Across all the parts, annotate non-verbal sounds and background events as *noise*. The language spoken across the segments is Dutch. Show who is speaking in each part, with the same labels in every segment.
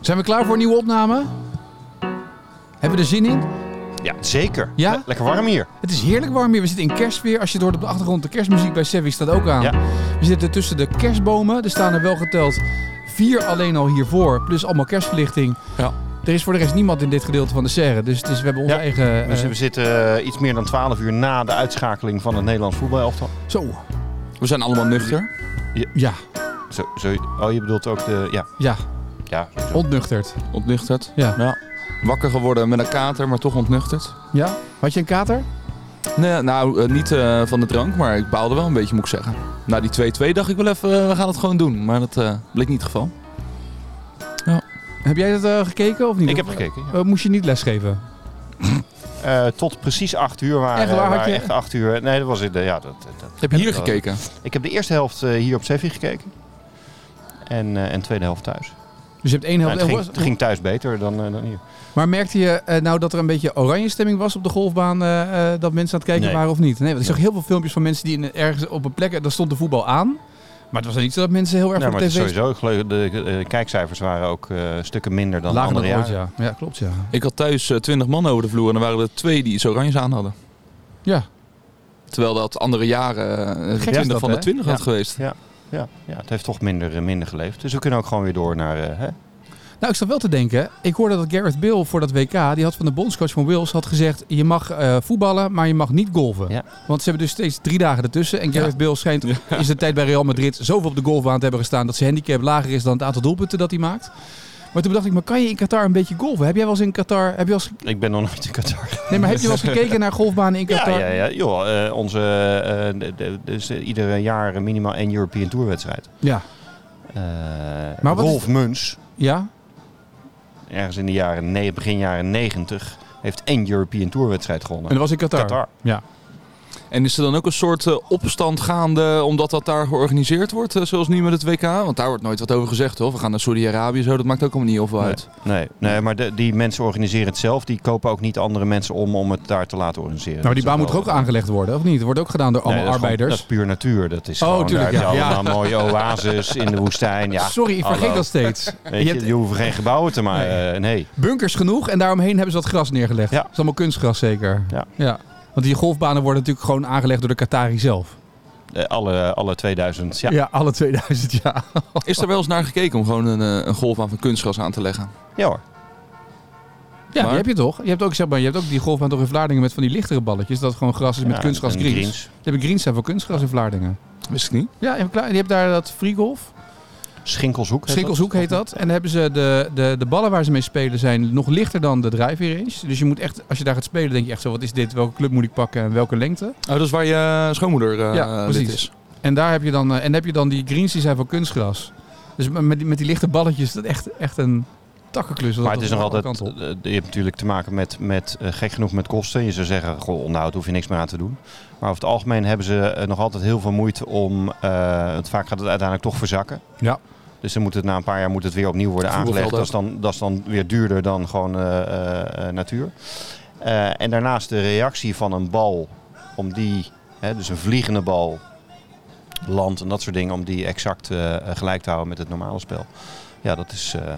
Speaker 1: Zijn we klaar voor een nieuwe opname? Hebben we er zin in?
Speaker 2: Ja, zeker.
Speaker 1: Ja?
Speaker 2: Le- lekker warm hier.
Speaker 1: Het is heerlijk warm hier. We zitten in kerstweer. Als je het hoort op de achtergrond, de kerstmuziek bij Sevi staat ook aan.
Speaker 2: Ja.
Speaker 1: We zitten tussen de kerstbomen. Er staan er wel geteld vier alleen al hiervoor. Plus allemaal kerstverlichting.
Speaker 3: Ja.
Speaker 1: Er is voor de rest niemand in dit gedeelte van de serre. Dus het is, we hebben onze
Speaker 2: Ja.
Speaker 1: eigen...
Speaker 2: We, zi-
Speaker 1: eh,
Speaker 2: we zitten eh, iets meer dan 12 uur na de uitschakeling van het Nederlands voetbalelftal.
Speaker 1: Zo.
Speaker 3: We zijn allemaal nuchter.
Speaker 1: Ja.
Speaker 2: Zo, zo, oh, je bedoelt ook de... Ja,
Speaker 1: Ja.
Speaker 2: ja. zo.
Speaker 1: Ontnuchterd.
Speaker 3: Ontnuchterd.
Speaker 1: Ja.
Speaker 3: Wakker geworden met een kater, maar toch ontnuchterd.
Speaker 1: Ja? Had je een kater?
Speaker 3: Nee, nou, eh, niet eh, van de drank, maar ik baalde wel een beetje, moet ik zeggen. Na die 2-2 dacht ik wel even, eh, we gaan het gewoon doen. Maar dat eh, bleek niet het geval.
Speaker 1: Heb jij dat eh, gekeken of niet?
Speaker 2: Ik heb
Speaker 1: Of,
Speaker 2: gekeken. ja.
Speaker 1: eh, moest je niet lesgeven?
Speaker 2: Eh, tot precies 8 uur waren,
Speaker 1: Echt waar, had
Speaker 2: waren
Speaker 1: je-
Speaker 2: echt 8 uur. Nee, dat was het. eh, Ja, dat, dat- dat,
Speaker 3: Heb je hier
Speaker 2: ik wel.
Speaker 3: gekeken?
Speaker 2: Ik heb de eerste helft eh, hier op Sevi gekeken. En, eh, en tweede helft thuis.
Speaker 1: Dus je hebt één
Speaker 2: Nou,
Speaker 1: helft...
Speaker 2: het, ging, het ging thuis beter dan, eh, dan hier.
Speaker 1: Maar merkte je eh, nou dat er een beetje oranje stemming was op de golfbaan? eh, eh, dat mensen aan het kijken
Speaker 2: Nee.
Speaker 1: waren of niet? Nee, want ik zag heel veel filmpjes van mensen die in, ergens op een plek... Daar stond de voetbal aan. Maar het was dan niet zo dat mensen heel erg
Speaker 2: Ja,
Speaker 1: op
Speaker 2: maar
Speaker 1: de
Speaker 2: het is
Speaker 1: tv...
Speaker 2: sowieso, geloof- de eh, kijkcijfers waren ook eh, stukken minder dan
Speaker 1: lagen
Speaker 2: andere
Speaker 1: dan ooit,
Speaker 2: jaren.
Speaker 1: ja. Ja, klopt, ja.
Speaker 3: Ik had thuis eh, 20 man over de vloer en er waren er twee die iets oranje aan hadden.
Speaker 1: Ja.
Speaker 3: Terwijl dat andere jaren eh,
Speaker 1: Gek is
Speaker 3: 20
Speaker 1: dat,
Speaker 3: van
Speaker 1: hè?
Speaker 3: de 20 had
Speaker 2: Ja.
Speaker 3: geweest.
Speaker 2: Ja, ja, het heeft toch minder, eh, minder geleefd. Dus we kunnen ook gewoon weer door naar... eh, hè?
Speaker 1: Nou, ik zat wel te denken. Ik hoorde dat Gareth Bale voor dat WK... die had van de bondscoach van Wales had gezegd... je mag eh, voetballen, maar je mag niet golven.
Speaker 2: Ja.
Speaker 1: Want ze hebben dus steeds drie dagen ertussen. En Gareth Bale schijnt is de tijd bij Real Madrid... zoveel op de golfbaan te hebben gestaan... dat zijn handicap lager is dan het aantal doelpunten dat hij maakt. Maar toen bedacht ik, maar kan je in Qatar een beetje golven? Heb jij wel eens in Qatar... Heb je wel eens
Speaker 2: Ik ben nog nooit in Qatar.
Speaker 1: Nee, maar heb je wel eens gekeken naar golfbanen in
Speaker 2: Ja,
Speaker 1: Qatar?
Speaker 2: ja, ja. Joh, eh, onze, eh, de- de- dus ieder jaar minimaal één European Tour wedstrijd.
Speaker 1: Ja.
Speaker 2: maar
Speaker 1: Maar wat
Speaker 2: Rolf Muns,
Speaker 1: Ja?
Speaker 2: ergens in de jaren, ne- begin jaren negentig, heeft één European Tour wedstrijd gewonnen.
Speaker 1: En dat was in Qatar.
Speaker 2: Qatar.
Speaker 1: Ja.
Speaker 3: En is er dan ook een soort eh, opstand gaande omdat dat daar georganiseerd wordt, eh, zoals nu met het WK? Want daar wordt nooit wat over gezegd, hoor. We gaan naar Saudi-Arabië, zo, dat maakt ook allemaal niet heel veel uit.
Speaker 2: Nee, nee maar de- die mensen organiseren het zelf. Die kopen ook niet andere mensen om om het daar te laten organiseren.
Speaker 1: Nou, die
Speaker 2: Dat
Speaker 1: baan
Speaker 2: is
Speaker 1: moet er ook
Speaker 2: wel-
Speaker 1: aangelegd worden, of niet? Het wordt ook gedaan door
Speaker 2: Nee,
Speaker 1: allemaal
Speaker 2: dat is gewoon-
Speaker 1: arbeiders.
Speaker 2: dat is puur natuur. Dat is
Speaker 1: Oh,
Speaker 2: gewoon,
Speaker 1: tuurlijk,
Speaker 2: daar heb je
Speaker 1: ja. Ja.
Speaker 2: allemaal mooie oases in de woestijn. Ja,
Speaker 1: Sorry, ik vergeet
Speaker 2: hallo.
Speaker 1: dat steeds.
Speaker 2: Weet
Speaker 1: *laughs* Je
Speaker 2: je,
Speaker 1: hebt-
Speaker 2: die hoeven geen gebouwen te maken.
Speaker 1: Nee.
Speaker 2: Eh, nee.
Speaker 1: Bunkers genoeg en daaromheen hebben ze wat gras neergelegd.
Speaker 2: Ja.
Speaker 1: Dat is allemaal kunstgras zeker.
Speaker 2: Ja.
Speaker 1: Want die golfbanen worden natuurlijk gewoon aangelegd door de Qatari zelf.
Speaker 2: Eh, alle, alle 2000. Ja,
Speaker 1: alle 2000 jaar.
Speaker 3: Is er wel eens naar gekeken om gewoon een, eh, een golfbaan van kunstgras aan te leggen?
Speaker 2: ja hoor.
Speaker 1: Ja, die
Speaker 3: Maar-
Speaker 1: heb je toch? Je hebt ook, zeg maar, je hebt ook die golfbaan toch in Vlaardingen met van die lichtere balletjes. Dat gewoon gras is met
Speaker 2: Ja,
Speaker 1: kunstgras
Speaker 2: en
Speaker 1: greens.
Speaker 2: greens.
Speaker 1: Je hebt greens zijn voor kunstgras in Vlaardingen.
Speaker 3: Wist ik niet.
Speaker 1: Ja, en je hebt daar dat freegolf.
Speaker 2: Schinkelshoek. heet
Speaker 1: Schikkelshoek heet dat. En dan hebben ze de, de, de ballen waar ze mee spelen zijn nog lichter dan de driving range. Dus je moet echt, als je daar gaat spelen, denk je echt zo, wat is dit? Welke club moet ik pakken en welke lengte?
Speaker 3: Oh, dat is waar je schoonmoeder eh
Speaker 1: Ja,
Speaker 3: lid
Speaker 1: precies.
Speaker 3: is.
Speaker 1: En daar heb je dan, eh, en dan heb je dan die greens die zijn voor kunstgras. Dus met- met die, met die lichte balletjes is dat echt, echt een takkenklus. want
Speaker 2: Maar
Speaker 1: dat
Speaker 2: het is nog
Speaker 1: alle
Speaker 2: altijd,
Speaker 1: kanten op.
Speaker 2: eh, je hebt natuurlijk te maken met, met eh, gek genoeg met kosten. Je zou zeggen, goh, onderhoud hoef je niks meer aan te doen. Maar over het algemeen hebben ze eh, nog altijd heel veel moeite om, eh, het, vaak gaat het uiteindelijk toch verzakken.
Speaker 1: Ja.
Speaker 2: Dus dan moet het, na een paar jaar moet het weer opnieuw worden aangelegd. Dat is,
Speaker 3: Voetbalvelden.
Speaker 2: dan, dat is dan weer duurder dan gewoon eh, eh, eh, natuur. Eh, en daarnaast de reactie van een bal, om die, hè, dus een vliegende bal, land en dat soort dingen, om die exact eh, gelijk te houden met het normale spel. Ja, dat is eh,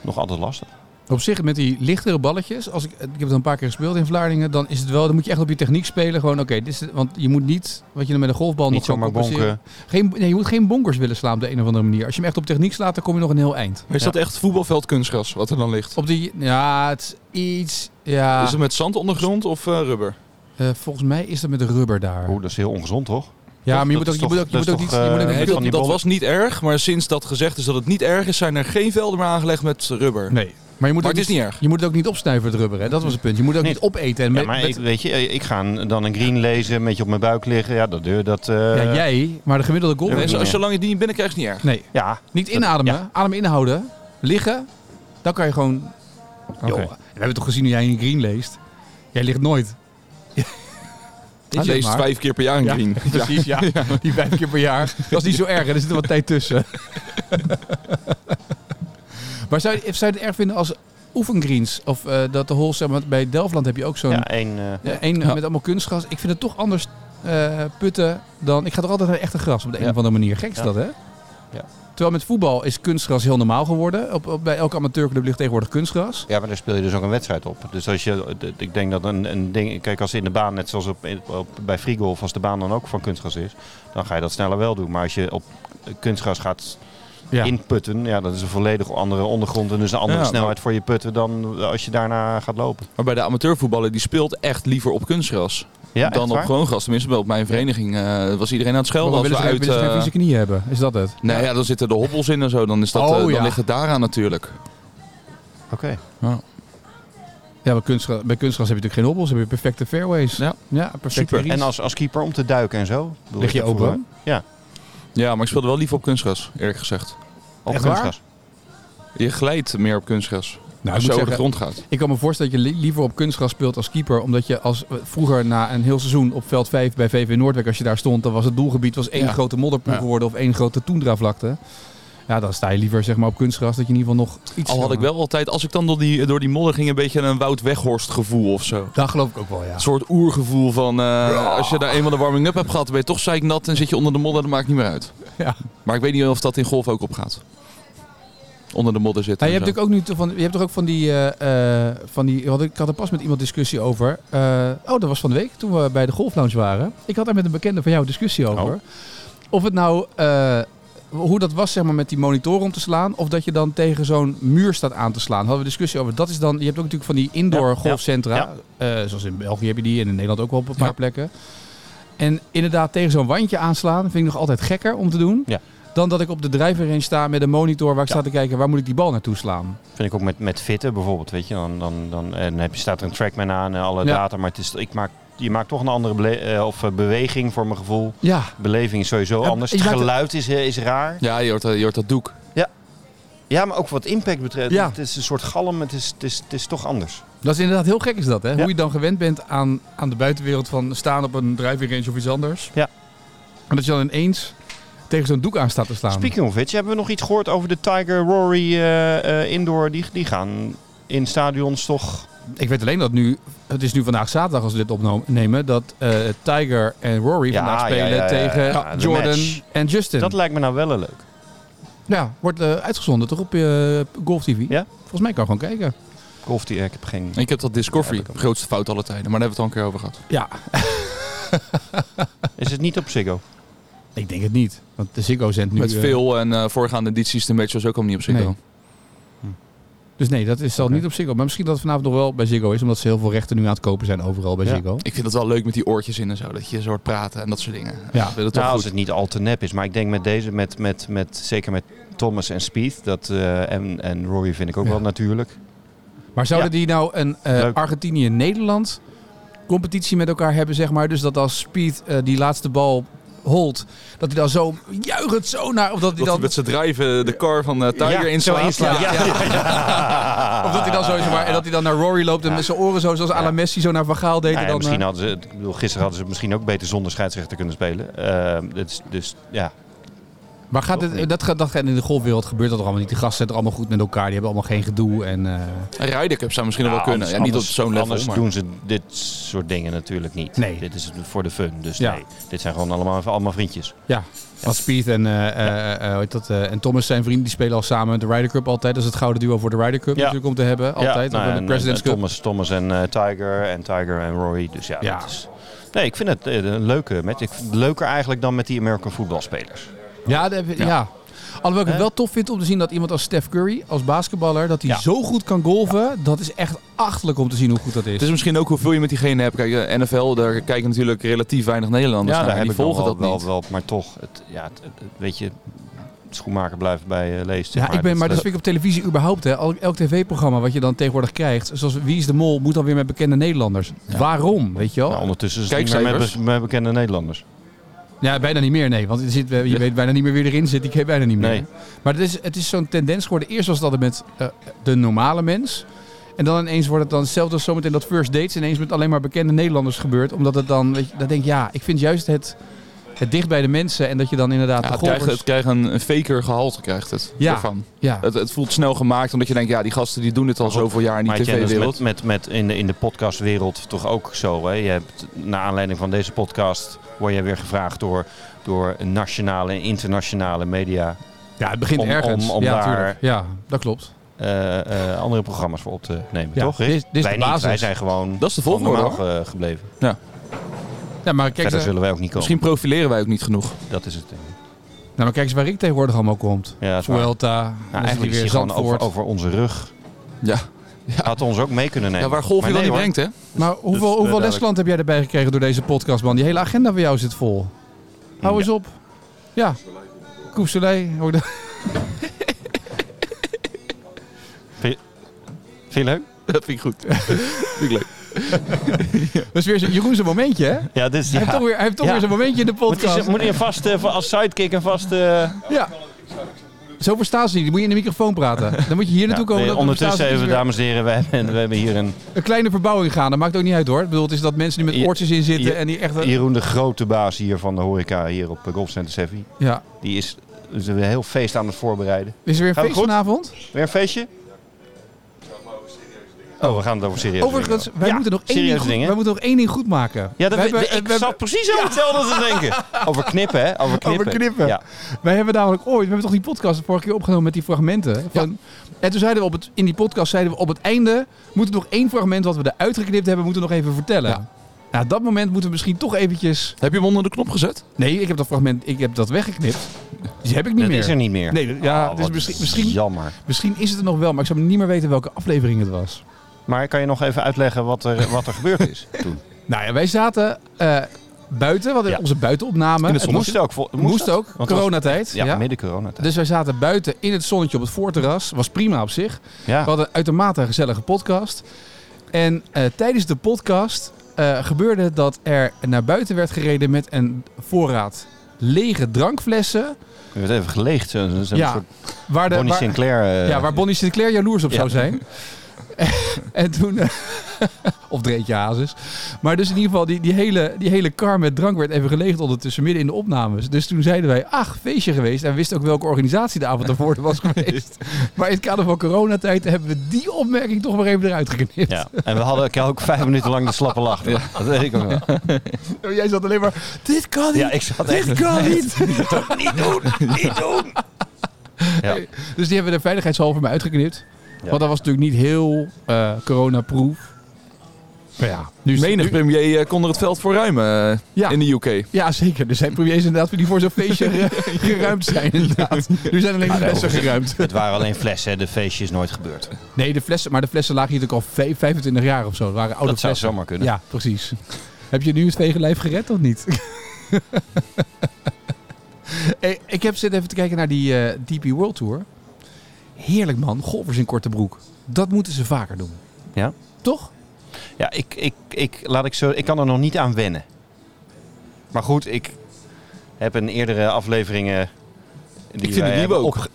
Speaker 2: nog altijd lastig.
Speaker 1: Op zich met die lichtere balletjes, als ik, ik heb het een paar keer gespeeld in Vlaardingen, dan is het wel, dan moet je echt op je techniek spelen. Gewoon oké, dit is het- want je moet niet, wat je dan met een golfbal
Speaker 2: Niet
Speaker 1: nog kan
Speaker 2: zomaar
Speaker 1: compenseren.
Speaker 2: bonken.
Speaker 1: Geen, nee, je moet geen bonkers willen slaan op de een of andere manier. Als je hem echt op techniek slaat, dan kom je nog een heel eind.
Speaker 3: Maar is
Speaker 2: Ja.
Speaker 3: dat echt voetbalveld kunstgras wat er dan ligt?
Speaker 1: Op die, ja, het is iets, ja.
Speaker 3: Is het met zand ondergrond of eh, rubber?
Speaker 1: Eh, volgens mij is dat met de rubber daar.
Speaker 2: Oeh, dat is heel ongezond, toch?
Speaker 1: ja, maar je
Speaker 2: dat
Speaker 1: moet ook,
Speaker 2: is
Speaker 1: je moet
Speaker 2: toch-
Speaker 1: ook, je moet
Speaker 2: dat
Speaker 1: ook
Speaker 2: is
Speaker 1: niet,
Speaker 2: toch,
Speaker 1: je moet ook niet-
Speaker 2: eh, Nee,
Speaker 3: dat,
Speaker 2: van die
Speaker 3: dat
Speaker 2: bollen.
Speaker 3: was niet erg, maar sinds dat gezegd is dat het niet erg is, zijn er geen velden meer aangelegd met rubber.
Speaker 1: nee. Maar je moet
Speaker 3: Maar
Speaker 1: ook
Speaker 3: het is niet erg.
Speaker 1: Je moet het ook niet opsnuiven het rubber, hè? Dat was het punt. Je moet het ook
Speaker 2: Nee.
Speaker 1: niet opeten. En
Speaker 2: Ja,
Speaker 1: met-
Speaker 2: maar
Speaker 1: met-
Speaker 2: ik, weet je, eh, ik ga een- dan een green lezen, een beetje op mijn buik liggen. Ja, dat deur, dat... eh,
Speaker 1: ja, jij, maar de gemiddelde golf.
Speaker 3: Nee,
Speaker 2: Ja,
Speaker 3: zo-
Speaker 2: ja.
Speaker 3: zolang je die niet binnenkrijgt, is het niet erg.
Speaker 1: Nee,
Speaker 2: ja,
Speaker 1: niet inademen. Adem inhouden. Liggen. Dan kan je gewoon... Joh,
Speaker 2: Oké.
Speaker 1: we hebben toch gezien hoe jij in green leest? Jij ligt
Speaker 2: *laughs*
Speaker 1: nooit.
Speaker 3: Ik lees
Speaker 1: maar.
Speaker 3: vijf keer per jaar in
Speaker 1: Ja,
Speaker 3: green.
Speaker 1: Precies, ja. Die vijf keer per jaar. Dat is niet zo erg, hè. er zit er wat tijd
Speaker 2: *laughs*
Speaker 1: tussen. maar zou je, zou je het erg vinden als oefengreens? Of eh, dat de holes, zeg maar, bij Delftland heb je ook zo'n...
Speaker 2: ja, één... eh,
Speaker 1: Ja, één
Speaker 3: Ja.
Speaker 1: met allemaal kunstgras. Ik vind het toch anders eh, putten dan... Ik ga er altijd naar echte gras op de een
Speaker 2: Ja.
Speaker 1: of andere manier. Gek is
Speaker 2: Ja.
Speaker 1: dat, hè?
Speaker 2: Ja.
Speaker 1: Terwijl met voetbal is kunstgras heel normaal geworden. Op, op- bij elke amateurclub ligt tegenwoordig kunstgras.
Speaker 2: Ja, maar daar speel je dus ook een wedstrijd op. Dus als je, d- ik denk dat een, een ding, kijk als in de baan, net zoals op, op, bij freegolf, als de baan dan ook van kunstgras is, dan ga je dat sneller wel doen. Maar als je op kunstgras gaat
Speaker 1: Ja.
Speaker 2: inputten, ja, dat is een volledig andere ondergrond en dus een andere
Speaker 3: Ja, maar-
Speaker 2: snelheid voor je putten dan als je daarna gaat lopen.
Speaker 3: *laughs* Maar bij de amateurvoetballer, die speelt echt liever op kunstgras
Speaker 2: Ja, echt
Speaker 3: dan op
Speaker 2: waar?
Speaker 3: gewoon gras. Tenminste, bij- op mijn vereniging eh, was iedereen aan het schelden.
Speaker 1: Maar
Speaker 3: Als
Speaker 1: willen
Speaker 3: we
Speaker 1: ze,
Speaker 3: uit,
Speaker 1: willen ze geen
Speaker 3: eh,
Speaker 1: vieze knieën hebben? Is dat het?
Speaker 3: nee, ja, dan zitten de hobbels in en zo. Dan, is dat, eh,
Speaker 1: Oh,
Speaker 3: dan
Speaker 1: ja.
Speaker 3: ligt het daaraan natuurlijk.
Speaker 2: Oké.
Speaker 1: Ja, bij kunstgras, bij kunstgras heb je natuurlijk geen hobbels. Heb je perfecte fairways.
Speaker 3: Ja.
Speaker 1: perfecte
Speaker 3: Super.
Speaker 1: greens.
Speaker 2: En als, als keeper om te duiken en zo? Ik bedoel,
Speaker 1: Lig je
Speaker 2: ik heb
Speaker 1: open?
Speaker 2: vroeger-
Speaker 3: Ja, maar ik speelde wel liever op kunstgras, eerlijk gezegd.
Speaker 2: Op
Speaker 1: Echt waar?
Speaker 2: kunstgras.
Speaker 3: Je glijdt meer op kunstgras.
Speaker 1: Nou,
Speaker 3: als
Speaker 1: ik
Speaker 3: je
Speaker 1: moet
Speaker 3: over de
Speaker 1: zeggen,
Speaker 3: grond gaat.
Speaker 1: ik kan me voorstellen dat je li- liever op kunstgras speelt als keeper. Omdat je als eh, vroeger na een heel seizoen op veld 5 bij VV Noordwijk, als je daar stond, dan was het doelgebied was één
Speaker 3: Ja.
Speaker 1: grote modderpoel
Speaker 3: Ja.
Speaker 1: geworden of één grote toendravlakte. Ja, dan sta je liever zeg maar, op kunstgras dat je in ieder geval nog iets...
Speaker 3: Al had ik wel altijd, als ik dan door die, door die modder ging, een beetje een Wout Weghorst gevoel of zo.
Speaker 1: Dat geloof ik ook wel, ja.
Speaker 3: Een soort oergevoel van eh, als je daar eenmaal de warming-up hebt gehad, ben je toch zeiknat en zit je onder de modder, dat maakt niet meer uit.
Speaker 1: Ja.
Speaker 3: Maar ik weet niet of dat in golf ook opgaat. Onder de modder zitten.
Speaker 1: Ja, je
Speaker 3: en
Speaker 1: hebt
Speaker 3: zo.
Speaker 1: natuurlijk ook nu toch van, je hebt toch ook van die, eh, eh, van die had ik, ik had er pas met iemand discussie over. Eh, oh, dat was van de week toen we bij de golflounge waren. Ik had daar met een bekende van jou discussie
Speaker 3: Oh.
Speaker 1: over. Of het nou eh, hoe dat was zeg maar met die monitoren om te slaan, of dat je dan tegen zo'n muur staat aan te slaan. Hadden we discussie over. Dat is dan. Je hebt ook natuurlijk van die indoor
Speaker 2: Ja,
Speaker 1: golfcentra,
Speaker 2: ja,
Speaker 1: Eh, zoals in België heb je die en in Nederland ook wel op een paar
Speaker 3: Ja.
Speaker 1: plekken. En inderdaad tegen zo'n wandje aanslaan vind ik nog altijd gekker om te doen.
Speaker 2: Ja.
Speaker 1: Dan dat ik op de driver range sta met een monitor waar ik
Speaker 2: Ja.
Speaker 1: sta te kijken waar moet ik die bal naartoe slaan.
Speaker 2: Vind ik ook met, met fitten bijvoorbeeld, weet je. Dan, dan, dan en heb je, staat er een trackman aan en alle
Speaker 1: Ja.
Speaker 2: data. Maar het is, ik maak, je maakt toch een andere bele- eh, of, eh, beweging voor mijn gevoel.
Speaker 1: Ja,
Speaker 2: Beleving is sowieso
Speaker 1: Ja,
Speaker 2: anders.
Speaker 1: je
Speaker 2: Het
Speaker 1: maakt het-
Speaker 2: geluid is, eh, is raar.
Speaker 3: Ja, je hoort, dat- je hoort dat doek.
Speaker 2: Ja, maar ook wat impact betreft.
Speaker 1: Ja.
Speaker 2: Het is een soort galm. Het is, het is, het is toch anders.
Speaker 1: dat is inderdaad heel gek is dat, hè?
Speaker 2: Ja.
Speaker 1: Hoe je dan gewend bent aan, aan de buitenwereld van staan op een driving range of iets anders.
Speaker 2: Ja.
Speaker 1: En dat je dan ineens tegen zo'n doek aan staat te slaan.
Speaker 2: Speaking of which, hebben we nog iets gehoord over de Tiger Rory eh, eh, indoor? Die, die gaan in stadions toch...
Speaker 1: Ik weet alleen dat nu, het is nu vandaag zaterdag als we dit opnemen, dat eh, Tiger en Rory
Speaker 2: Ja,
Speaker 1: vandaag
Speaker 2: ja,
Speaker 1: spelen
Speaker 2: ja, ja,
Speaker 1: tegen
Speaker 2: ja, de
Speaker 1: Jordan
Speaker 2: match.
Speaker 1: en Justin.
Speaker 2: Dat lijkt me nou wel een leuk.
Speaker 1: Ja, wordt eh, uitgezonden toch op eh, Golf TV?
Speaker 2: Ja.
Speaker 1: Volgens mij kan ik gewoon kijken.
Speaker 2: Golf die, eh, ik heb geen...
Speaker 3: Ik heb dat Discovery,
Speaker 2: Ja, dat
Speaker 3: grootste fout alle tijden, maar daar hebben we het al een keer over gehad.
Speaker 1: Ja,
Speaker 2: Is het niet op Ziggo?
Speaker 1: ik denk het niet. Want de Ziggo zendt nu...
Speaker 3: Met
Speaker 1: eh,
Speaker 3: veel en eh, voorgaande edities, de match was ook al niet op zich.
Speaker 1: Nee. Dus nee, dat is, zal
Speaker 2: Oké.
Speaker 1: niet op Ziggo. Maar misschien dat het vanavond nog wel bij Ziggo is. Omdat ze heel veel rechten nu aan het kopen zijn overal bij
Speaker 2: Ja.
Speaker 1: Ziggo.
Speaker 3: Ik vind het wel leuk met die oortjes in en zo, dat je zo hoort praten en dat soort dingen.
Speaker 1: Ja.
Speaker 3: Ik vind het toch
Speaker 2: Nou, als
Speaker 3: goed.
Speaker 2: het niet al te nep is. Maar ik denk met deze, met, met, met, zeker met Thomas en Speed dat, eh, en, en Rory vind ik ook
Speaker 1: Ja.
Speaker 2: wel natuurlijk.
Speaker 1: Maar zouden die nou een eh
Speaker 2: Leuk.
Speaker 1: Argentinië-Nederland competitie met elkaar hebben, zeg maar? Dus dat als Speed eh, die laatste bal holt, dat hij dan zo juichend zo naar... Of dat hij
Speaker 3: Dat hij
Speaker 1: dan...
Speaker 3: met z'n drijven de car van eh, Tiger
Speaker 2: zo
Speaker 3: inslaat.
Speaker 2: inslaat.
Speaker 3: Ja. *laughs*
Speaker 2: Ja.
Speaker 1: Of dat hij dan zo zeg maar, en dat hij dan naar Rory loopt en
Speaker 2: Ja.
Speaker 1: met zijn oren zo, zoals à la
Speaker 2: Ja.
Speaker 1: Messi, zo naar Van Gaal deed.
Speaker 2: Nou
Speaker 1: en
Speaker 2: ja,
Speaker 1: dan,
Speaker 2: misschien
Speaker 1: eh,
Speaker 2: hadden ze, het- ik bedoel, gisteren hadden ze misschien ook beter zonder scheidsrechter kunnen spelen. Eh, dus, dus ja,
Speaker 1: maar gaat het, dat, gaat, dat gaat in de golfwereld gebeurt dat er allemaal niet. Die gasten zitten er allemaal goed met elkaar, die hebben allemaal geen gedoe. En, eh,
Speaker 3: Een Ryder Cup zou misschien nog
Speaker 2: Ja,
Speaker 3: wel kunnen.
Speaker 2: anders-
Speaker 3: ja, niet
Speaker 2: Nou, anders-
Speaker 3: op zo'n level,
Speaker 2: Anders
Speaker 3: maar...
Speaker 2: doen ze dit soort dingen natuurlijk niet.
Speaker 1: Nee.
Speaker 2: Dit is voor de fun. Dus
Speaker 1: Ja.
Speaker 2: nee, dit zijn gewoon allemaal, allemaal vriendjes.
Speaker 1: Ja, want Speed en, eh, eh, eh, hoe heet dat, eh, en Thomas zijn vrienden, die spelen al samen de Ryder Cup altijd. Dat is het gouden duo voor de Ryder Cup
Speaker 2: Ja.
Speaker 1: natuurlijk om te hebben. Altijd,
Speaker 2: Ja, nou,
Speaker 1: Of de
Speaker 2: en-
Speaker 1: President's
Speaker 2: en
Speaker 1: Cup.
Speaker 2: Thomas, Thomas en eh, Tiger en Tiger en Rory. Dus ja,
Speaker 1: Ja.
Speaker 2: Dat is, nee, ik vind het eh, een leuke. Met, ik vind het leuker eigenlijk dan met die American voetbalspelers.
Speaker 1: Ah, Ja, daar heb je- ja. Alhoewel ik het
Speaker 2: Eh?
Speaker 1: wel tof vind om te zien dat iemand als Steph Curry, als basketballer, dat hij
Speaker 2: Ja.
Speaker 1: zo goed kan golven. Dat is echt achterlijk om te zien hoe goed dat is.
Speaker 3: Het is misschien ook hoeveel je met diegene hebt. Kijk, eh, NFL, daar kijken natuurlijk relatief weinig Nederlanders naar. die
Speaker 2: dan
Speaker 3: volgen
Speaker 2: wel,
Speaker 3: dat
Speaker 2: wel,
Speaker 3: niet.
Speaker 2: wel- Maar toch, het, ja, het- het- het- weet je, schoenmaker blijft bij eh leest.
Speaker 1: ja, ik ben, maar dat vind ik op televisie überhaupt. Hè. Al- Elk tv-programma wat je dan tegenwoordig krijgt, zoals Wie is de Mol, moet dan weer met bekende Nederlanders. Waarom, weet je wel?
Speaker 2: Nou, ondertussen is het niet meer met,
Speaker 3: Kijkcijfers.
Speaker 2: be- met bekende Nederlanders.
Speaker 1: Ja, bijna niet meer, nee. Want er zit, eh, je
Speaker 3: Ja.
Speaker 1: weet bijna niet meer wie erin zit. Ik weet bijna niet meer.
Speaker 2: Nee.
Speaker 1: Maar het is, het is zo'n tendens geworden. Eerst was dat met eh, de normale mens. En dan ineens wordt het dan hetzelfde als zometeen dat first dates ineens met alleen maar bekende Nederlanders gebeurt. Omdat het dan, weet je, dan denk ik, ja, ik vind juist het, het dicht bij de mensen. En dat je dan inderdaad
Speaker 3: Ja,
Speaker 1: de
Speaker 3: het krijgt,
Speaker 1: golfers-
Speaker 3: het krijgt een, een faker gehalte, krijgt het.
Speaker 1: Ja.
Speaker 3: Ervan.
Speaker 1: Ja,
Speaker 3: Het, het voelt snel gemaakt, omdat je denkt, ja, die gasten die doen dit al
Speaker 2: Maar goed,
Speaker 3: zoveel jaar in die
Speaker 2: Maar Jan, dat is
Speaker 3: tv-wereld.
Speaker 2: met, met, met in, de, in de podcastwereld toch ook zo. Hè? Je hebt, naar aanleiding van deze podcast word je weer gevraagd door, door nationale en internationale media.
Speaker 1: Ja, het begint
Speaker 2: Om-
Speaker 1: ergens.
Speaker 2: om- om
Speaker 1: ja,
Speaker 2: daar-
Speaker 1: tuurlijk. ja, dat klopt.
Speaker 2: eh, eh, andere programma's voor op te nemen,
Speaker 1: Ja,
Speaker 2: toch? Rick?
Speaker 1: dit is- dit is
Speaker 2: wij
Speaker 1: de
Speaker 2: niet,
Speaker 1: basis.
Speaker 2: wij zijn gewoon
Speaker 3: Dat is de volgorde,
Speaker 2: normaal ge- gebleven.
Speaker 1: Ja, maar kijk,
Speaker 2: Verder
Speaker 1: eens, nou,
Speaker 2: zullen wij ook niet komen.
Speaker 3: Misschien profileren wij ook niet genoeg.
Speaker 2: Dat is het. denk ik.
Speaker 1: nou, maar kijk eens waar ik tegenwoordig allemaal komt.
Speaker 2: Ja, dat is waar.
Speaker 1: Vuelta, dan
Speaker 2: Nou,
Speaker 1: is hij
Speaker 2: eigenlijk is
Speaker 1: weer
Speaker 2: hij gewoon
Speaker 1: Zandvoort.
Speaker 2: over, over onze rug.
Speaker 3: Ja,
Speaker 2: Had ons ook mee kunnen nemen.
Speaker 3: ja waar golf je
Speaker 2: Maar
Speaker 3: dan
Speaker 2: nee,
Speaker 3: niet
Speaker 2: hoor.
Speaker 3: brengt, hè?
Speaker 1: Maar hoeveel,
Speaker 2: eh,
Speaker 1: hoeveel
Speaker 2: duidelijk.
Speaker 1: lesklanten heb jij erbij gekregen door deze podcast, man? Die hele agenda bij jou zit vol. Hou
Speaker 2: Ja.
Speaker 1: eens op. Ja. Koep Soleil. ook dat-
Speaker 2: Vind je leuk?
Speaker 3: *laughs* Dat vind ik goed. vind ik leuk.
Speaker 1: Dat is weer zo- Jeroen zijn momentje, hè? Hij
Speaker 2: Ja, dit is
Speaker 1: heeft toch weer, hij heeft toch
Speaker 2: Ja.
Speaker 1: weer zijn momentje in de
Speaker 2: Moet hij,
Speaker 1: podcast.
Speaker 2: ze- moet hij een vast, eh, als sidekick een vast... eh,
Speaker 1: Ja. Zo verstaan ze niet. Dan moet je in de microfoon praten. Dan moet je hier naartoe
Speaker 2: ja,
Speaker 1: komen.
Speaker 2: nee,
Speaker 1: dan verstaan ze
Speaker 2: ondertussen
Speaker 1: het
Speaker 2: even,
Speaker 1: weer.
Speaker 2: dames en heren, we hebben, we hebben hier een
Speaker 1: Een kleine verbouwing gaan. Dat maakt ook niet uit, hoor. Ik bedoel, het is dat mensen die met
Speaker 2: Je-
Speaker 1: oortjes in zitten
Speaker 2: je-
Speaker 1: en die echt...
Speaker 2: Jeroen de grote baas hier van de horeca hier op eh, Golf Center Sevi.
Speaker 1: Ja.
Speaker 2: Die is, is een heel feest aan het voorbereiden.
Speaker 1: Is er weer een
Speaker 2: Gaat het
Speaker 1: feest
Speaker 2: goed?
Speaker 1: vanavond?
Speaker 2: Weer een feestje? Oh, we gaan het over serieuze
Speaker 1: Overigens,
Speaker 2: dingen
Speaker 1: wij,
Speaker 2: Ja,
Speaker 1: moeten nog één
Speaker 2: serieuze
Speaker 1: ding goed,
Speaker 2: dingen.
Speaker 1: wij moeten nog één ding goed maken.
Speaker 2: Ja, dat
Speaker 1: wij,
Speaker 2: we-
Speaker 1: hebben-
Speaker 2: ik
Speaker 1: wij-
Speaker 2: zat precies aan hetzelfde te denken.
Speaker 1: *laughs*
Speaker 2: Over knippen, hè? Over knippen.
Speaker 1: Over knippen.
Speaker 2: Ja.
Speaker 1: Wij hebben namelijk ooit, we hebben toch die podcast de vorige keer opgenomen met die fragmenten. Van, En toen zeiden we op het, in die podcast zeiden we op het einde moet er nog één fragment wat we eruit geknipt hebben, moeten we nog even vertellen.
Speaker 3: Ja.
Speaker 1: Nou, op dat moment moeten we misschien toch eventjes.
Speaker 3: Heb je hem onder de knop gezet?
Speaker 1: Nee, ik heb dat fragment, ik heb dat weggeknipt. Die heb ik niet
Speaker 2: Dat
Speaker 1: meer.
Speaker 2: is er niet meer.
Speaker 1: Nee, dat- ja,
Speaker 2: Oh,
Speaker 1: dus
Speaker 2: wat
Speaker 1: misschien, misschien,
Speaker 2: Jammer.
Speaker 1: misschien is het er nog wel, maar ik zou niet meer weten welke aflevering het was.
Speaker 2: Maar kan je nog even uitleggen
Speaker 1: *laughs*
Speaker 2: wat er, wat er gebeurd is toen?
Speaker 1: Nou ja, wij zaten eh, buiten, wat
Speaker 2: Ja.
Speaker 1: onze buitenopname.
Speaker 3: In het
Speaker 1: moest,
Speaker 2: moest ook. vol-
Speaker 1: moest,
Speaker 2: dat?
Speaker 1: ook,
Speaker 2: Want het was-
Speaker 1: coronatijd.
Speaker 2: Ja,
Speaker 1: ja.
Speaker 2: midden coronatijd.
Speaker 1: Dus wij zaten buiten in het zonnetje op het voorterras. Was prima op zich.
Speaker 2: ja.
Speaker 1: We hadden uitermate een gezellige podcast. En eh, tijdens de podcast eh, gebeurde het dat er naar buiten werd gereden met een voorraad lege drankflessen.
Speaker 2: Je werd even geleegd. Zo'n zo'n
Speaker 1: Ja,
Speaker 2: soort
Speaker 1: Waar, de,
Speaker 2: Bonnie
Speaker 1: waar,
Speaker 2: Sinclair. eh,
Speaker 1: ja, waar Bonnie Sinclair jaloers op
Speaker 2: Ja.
Speaker 1: zou zijn. *laughs* en toen... eh, *laughs* of Dreetje Hazes. Maar dus in ieder geval, die, die, hele, die hele kar met drank werd even geleegd ondertussen midden in de opnames. Dus toen zeiden wij, ach, feestje geweest. En we wisten ook welke organisatie de avond daarvoor
Speaker 2: *laughs*
Speaker 1: er was geweest. maar in het kader van coronatijd hebben we die opmerking toch maar even eruit geknipt.
Speaker 2: *laughs* Ja, en we hadden elkaar ook vijf minuten lang de slappe lach. Dat weet ik ook
Speaker 1: *laughs*
Speaker 2: nog.
Speaker 1: Maar Oh, Jij zat alleen maar, dit kan niet,
Speaker 2: Ja, ik zat echt...
Speaker 1: dit kan *laughs* niet.
Speaker 2: Niet doen, niet doen. Ja,
Speaker 1: Dus die hebben we er veiligheidshalve mee uitgeknipt.
Speaker 2: Ja.
Speaker 1: Want dat was natuurlijk niet heel eh coronaproof. Maar ja, nu is het-
Speaker 3: Menig
Speaker 1: nu-
Speaker 3: premier eh, kon er het veld voor ruimen eh,
Speaker 1: Ja.
Speaker 3: in de UK.
Speaker 1: ja, zeker. Dus Er zijn premiers inderdaad die voor zo'n *laughs* feestje ge- geruimd zijn. Inderdaad. Nu zijn alleen de flessen geruimd.
Speaker 2: Het waren alleen flessen, hè. de feestje is nooit gebeurd.
Speaker 1: Nee, de flessen, maar de flessen lagen hier natuurlijk al vijf- 25 jaar of zo. Het waren oude
Speaker 2: Dat zou
Speaker 1: flessen.
Speaker 2: zomaar kunnen.
Speaker 1: Ja, precies. heb je nu het vegenlijf gered of niet? *laughs* Hey, ik heb zitten even te kijken naar die eh, DP World Tour. Heerlijk man, golfers in korte broek. Dat moeten ze vaker doen.
Speaker 2: Ja.
Speaker 1: Toch?
Speaker 2: Ja, ik, ik, ik, laat ik, zo, ik kan er nog niet aan wennen. Maar goed, ik heb in eerdere afleveringen... Die
Speaker 3: vind
Speaker 2: wij
Speaker 3: het
Speaker 2: hebben
Speaker 3: nieuw ook.
Speaker 2: opge-